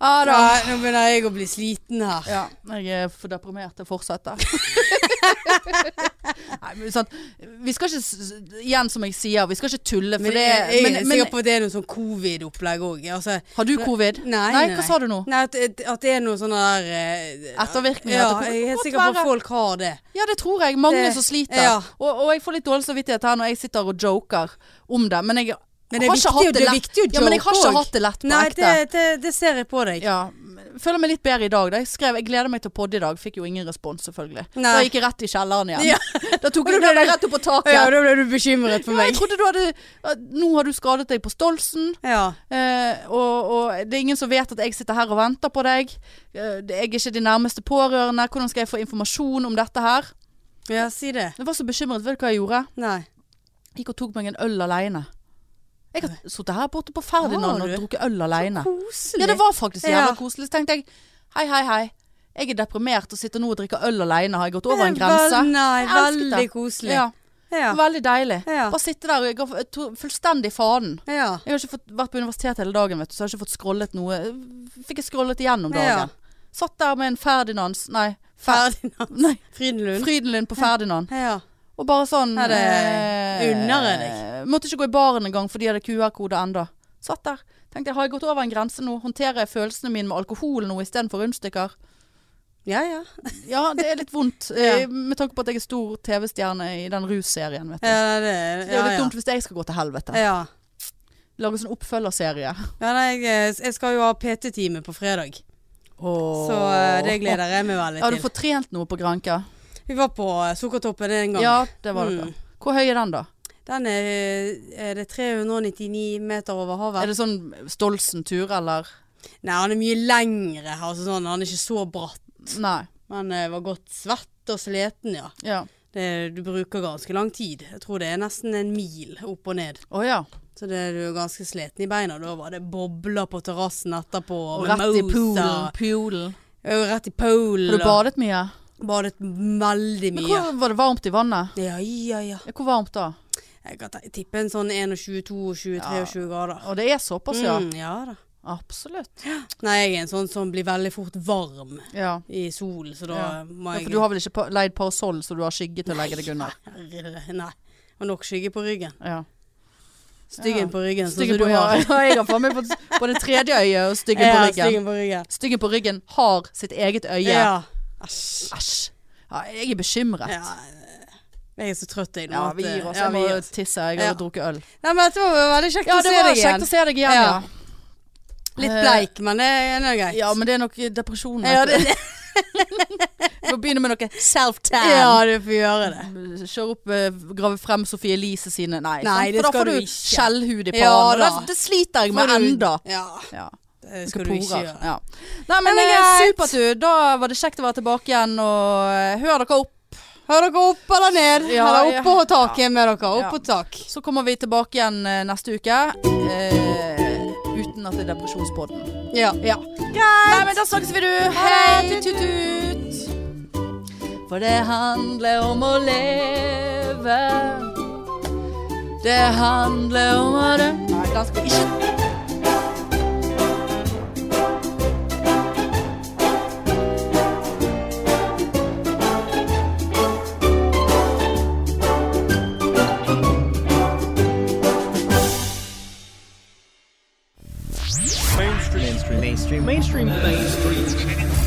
[SPEAKER 2] Ja da.
[SPEAKER 1] Nei, nå begynner jeg å bli sliten her.
[SPEAKER 2] Ja, jeg er for deprimert til å fortsette. Nei, men sant. Vi skal ikke, s- s- igjen som jeg sier, vi skal ikke tulle, for
[SPEAKER 1] Men
[SPEAKER 2] det
[SPEAKER 1] jeg, jeg
[SPEAKER 2] men,
[SPEAKER 1] er
[SPEAKER 2] men,
[SPEAKER 1] sikker på at det er noe sånn covid-opplegg òg. Altså,
[SPEAKER 2] Har du covid?
[SPEAKER 1] Nei, nei,
[SPEAKER 2] hva sa du nå?
[SPEAKER 1] nei at, at det er noe sånn der eh,
[SPEAKER 2] Ettervirkninger
[SPEAKER 1] Ja,
[SPEAKER 2] etter
[SPEAKER 1] jeg
[SPEAKER 2] covid.
[SPEAKER 1] er helt
[SPEAKER 2] Godt
[SPEAKER 1] sikker på
[SPEAKER 2] være.
[SPEAKER 1] at folk har det.
[SPEAKER 2] Ja, det tror jeg. Mange
[SPEAKER 1] Det-
[SPEAKER 2] som sliter.
[SPEAKER 1] ja.
[SPEAKER 2] Og, og jeg får litt dårlig samvittighet her når jeg sitter og joker om det, men jeg
[SPEAKER 1] Men det er
[SPEAKER 2] har
[SPEAKER 1] viktig å-
[SPEAKER 2] ikke hatt det
[SPEAKER 1] det er
[SPEAKER 2] lett.
[SPEAKER 1] viktig å
[SPEAKER 2] ja, men jeg har
[SPEAKER 1] joke
[SPEAKER 2] ikke
[SPEAKER 1] også.
[SPEAKER 2] hatt det lett på
[SPEAKER 1] Nei,
[SPEAKER 2] ekte.
[SPEAKER 1] det, det, det ser jeg på deg.
[SPEAKER 2] Ja, føler meg litt bedre i dag. Da jeg skrev 'Jeg gleder meg til podd i dag', fikk jo ingen respons, selvfølgelig.
[SPEAKER 1] Nei.
[SPEAKER 2] Da gikk jeg rett i kjelleren igjen.
[SPEAKER 1] Ja.
[SPEAKER 2] Da tok
[SPEAKER 1] Men
[SPEAKER 2] jeg
[SPEAKER 1] da ble
[SPEAKER 2] det
[SPEAKER 1] det-
[SPEAKER 2] rett opp på taket.
[SPEAKER 1] Ja, da ble du bekymret for
[SPEAKER 2] Ja, jeg
[SPEAKER 1] meg.
[SPEAKER 2] trodde du hadde at Nå har du skadet deg på stolsen.
[SPEAKER 1] Ja.
[SPEAKER 2] Eh, og, og det er ingen som vet at jeg sitter her og venter på deg. Eh, det- jeg er ikke de nærmeste pårørende. Hvordan skal jeg få informasjon om dette her?
[SPEAKER 1] ja, si det.
[SPEAKER 2] Jeg var så bekymret. Vet du hva jeg gjorde?
[SPEAKER 1] Nei.
[SPEAKER 2] Gikk og tok meg en øl alene. Jeg har sittet her borte på Ferdinand
[SPEAKER 1] Har
[SPEAKER 2] og
[SPEAKER 1] du?
[SPEAKER 2] drukket øl alene.
[SPEAKER 1] Koselig.
[SPEAKER 2] Ja, det var faktisk jævla
[SPEAKER 1] Ja.
[SPEAKER 2] koselig. Så tenkte jeg hei, hei, hei. Jeg er deprimert og sitter nå og drikker øl alene. Har jeg gått over en
[SPEAKER 1] Vel-
[SPEAKER 2] grense?
[SPEAKER 1] Nei,
[SPEAKER 2] Jeg elsket
[SPEAKER 1] veldig
[SPEAKER 2] det.
[SPEAKER 1] koselig.
[SPEAKER 2] Ja,
[SPEAKER 1] ja.
[SPEAKER 2] Veldig deilig.
[SPEAKER 1] Ja.
[SPEAKER 2] Bare sitte der og jeg ga jeg tok fullstendig fanen.
[SPEAKER 1] ja.
[SPEAKER 2] Jeg har ikke fått, vært på universitetet hele dagen, vet du, så jeg har ikke fått scrollet noe. Fikk jeg scrollet igjennom
[SPEAKER 1] Ja.
[SPEAKER 2] dagen. Satt der med en Ferdinands Nei, Fer
[SPEAKER 1] Ferdinand
[SPEAKER 2] nei
[SPEAKER 1] Frydenlund.
[SPEAKER 2] Frydenlund på Ferdinand.
[SPEAKER 1] Ja.
[SPEAKER 2] Og bare sånn
[SPEAKER 1] Ja, det
[SPEAKER 2] eh,
[SPEAKER 1] unner jeg deg.
[SPEAKER 2] Måtte ikke gå i baren engang, for de hadde QR-kode enda. Satt der. Tenkte jeg, har jeg gått over en grense nå? Håndterer jeg følelsene mine med alkohol nå istedenfor rundstykker?
[SPEAKER 1] ja, ja.
[SPEAKER 2] Ja, det er litt vondt. eh, Med tanke på at jeg er stor TV-stjerne i den russerien, vet du.
[SPEAKER 1] ja det,
[SPEAKER 2] Så
[SPEAKER 1] det
[SPEAKER 2] det er jo
[SPEAKER 1] ja,
[SPEAKER 2] litt dumt hvis jeg skal gå til helvete.
[SPEAKER 1] Ja. ja.
[SPEAKER 2] Lage sånn oppfølgerserie.
[SPEAKER 1] Ja, nei, jeg, eh, jeg skal jo ha PT-time på fredag, så eh, det gleder jeg meg veldig
[SPEAKER 2] Har du
[SPEAKER 1] til.
[SPEAKER 2] fått trent noe på Granka?
[SPEAKER 1] Vi var på eh, Sukkertoppen en gang.
[SPEAKER 2] Ja, det var det.
[SPEAKER 1] Mm.
[SPEAKER 2] Hvor høy er den, da?
[SPEAKER 1] Den er, eh, er det 399 meter over
[SPEAKER 2] Er
[SPEAKER 1] havet.
[SPEAKER 2] det sånn Stolsen-tur, eller?
[SPEAKER 1] Nei, han er mye lengre. Altså sånn, han er ikke så bratt.
[SPEAKER 2] Nei.
[SPEAKER 1] Men jeg var godt svett og sliten, ja.
[SPEAKER 2] Ja.
[SPEAKER 1] Det, du bruker ganske lang tid. Jeg tror det er nesten en mil opp og ned.
[SPEAKER 2] Å ja.
[SPEAKER 1] Så det, du er ganske sliten i beina. Da var det bobler på terrassen etterpå.
[SPEAKER 2] Og
[SPEAKER 1] med
[SPEAKER 2] rett i
[SPEAKER 1] mimosa.
[SPEAKER 2] poolen. poolen.
[SPEAKER 1] Ja, og Rett i poolen.
[SPEAKER 2] Har du badet mye?
[SPEAKER 1] og Badet veldig
[SPEAKER 2] Men
[SPEAKER 1] mye.
[SPEAKER 2] hvor, var det varmt i vannet?
[SPEAKER 1] Ja, ja, ja.
[SPEAKER 2] Ja, Hvor varmt da?
[SPEAKER 1] Jeg kan te- tippe en sånn 21, 22, 23 grader.
[SPEAKER 2] Og det er såpass, ja.
[SPEAKER 1] Mm, ja da.
[SPEAKER 2] Absolutt.
[SPEAKER 1] Nei, jeg er en sånn som blir veldig fort varm
[SPEAKER 2] Ja.
[SPEAKER 1] i solen, så da
[SPEAKER 2] Ja.
[SPEAKER 1] må
[SPEAKER 2] ja.
[SPEAKER 1] jeg
[SPEAKER 2] For du har vel ikke pa- leid parasoll så du har skygge til å legge deg under?
[SPEAKER 1] Herre, Nei. Og nok skygge på ryggen.
[SPEAKER 2] Ja.
[SPEAKER 1] Styggen
[SPEAKER 2] Ja.
[SPEAKER 1] på ryggen. sånn
[SPEAKER 2] Styggen
[SPEAKER 1] som
[SPEAKER 2] på
[SPEAKER 1] du har.
[SPEAKER 2] øyet. Ja, jeg har faen meg fått både tredje øye og styggen
[SPEAKER 1] Ja,
[SPEAKER 2] på ryggen.
[SPEAKER 1] styggen på ryggen.
[SPEAKER 2] Styggen på ryggen har sitt eget øye.
[SPEAKER 1] Ja. Æsj.
[SPEAKER 2] Æsj. Ja, jeg er bekymret.
[SPEAKER 1] Ja. Jeg er så trøtt jeg nå.
[SPEAKER 2] Ja,
[SPEAKER 1] at-
[SPEAKER 2] vi gir oss.
[SPEAKER 1] Ja,
[SPEAKER 2] Jeg
[SPEAKER 1] vi
[SPEAKER 2] må
[SPEAKER 1] gir oss.
[SPEAKER 2] tisse. Jeg
[SPEAKER 1] Ja.
[SPEAKER 2] har drukket øl.
[SPEAKER 1] Nei, men dette var veldig kjekt
[SPEAKER 2] Ja,
[SPEAKER 1] å
[SPEAKER 2] det
[SPEAKER 1] se
[SPEAKER 2] var
[SPEAKER 1] deg
[SPEAKER 2] kjekt
[SPEAKER 1] igjen.
[SPEAKER 2] å se deg igjen, ja.
[SPEAKER 1] Litt bleik, men det er nå greit.
[SPEAKER 2] Ja, men det er nok depresjon.
[SPEAKER 1] Ja, det-
[SPEAKER 2] Vi må begynne med noe self-tan.
[SPEAKER 1] Ja, du får gjøre det.
[SPEAKER 2] Kjør opp, eh, grave frem Sofie Elise sine Nei,
[SPEAKER 1] Nei,
[SPEAKER 2] sant?
[SPEAKER 1] det
[SPEAKER 2] for da
[SPEAKER 1] skal
[SPEAKER 2] får
[SPEAKER 1] du
[SPEAKER 2] du
[SPEAKER 1] ikke.
[SPEAKER 2] skjellhud i pannen.
[SPEAKER 1] Ja,
[SPEAKER 2] og
[SPEAKER 1] da.
[SPEAKER 2] det, det sliter jeg med
[SPEAKER 1] Får du-
[SPEAKER 2] enda.
[SPEAKER 1] Ja,
[SPEAKER 2] Ja,
[SPEAKER 1] det skal du ikke
[SPEAKER 2] porer.
[SPEAKER 1] gjøre.
[SPEAKER 2] Ja. Nei, men
[SPEAKER 1] Men det er
[SPEAKER 2] eh,
[SPEAKER 1] greit.
[SPEAKER 2] supert, du. Da var det kjekt å være tilbake igjen. Og eh, hør dere opp.
[SPEAKER 1] Hør dere opp eller ned?
[SPEAKER 2] Ja,
[SPEAKER 1] eller
[SPEAKER 2] ja.
[SPEAKER 1] opp på taket med dere. Opp
[SPEAKER 2] Ja.
[SPEAKER 1] på tak.
[SPEAKER 2] Så kommer vi tilbake igjen eh, neste uke. Eh, uten at det er depresjonspodden.
[SPEAKER 1] Ja.
[SPEAKER 2] Ja. Nei, men da snakkes vi, du.
[SPEAKER 1] Hei.
[SPEAKER 2] Tut-tut-tut. For det handler om å leve. Det handler om å dø Nei, da skal vi ikke
[SPEAKER 3] mainstream mainstream mainstream mainstream mainstream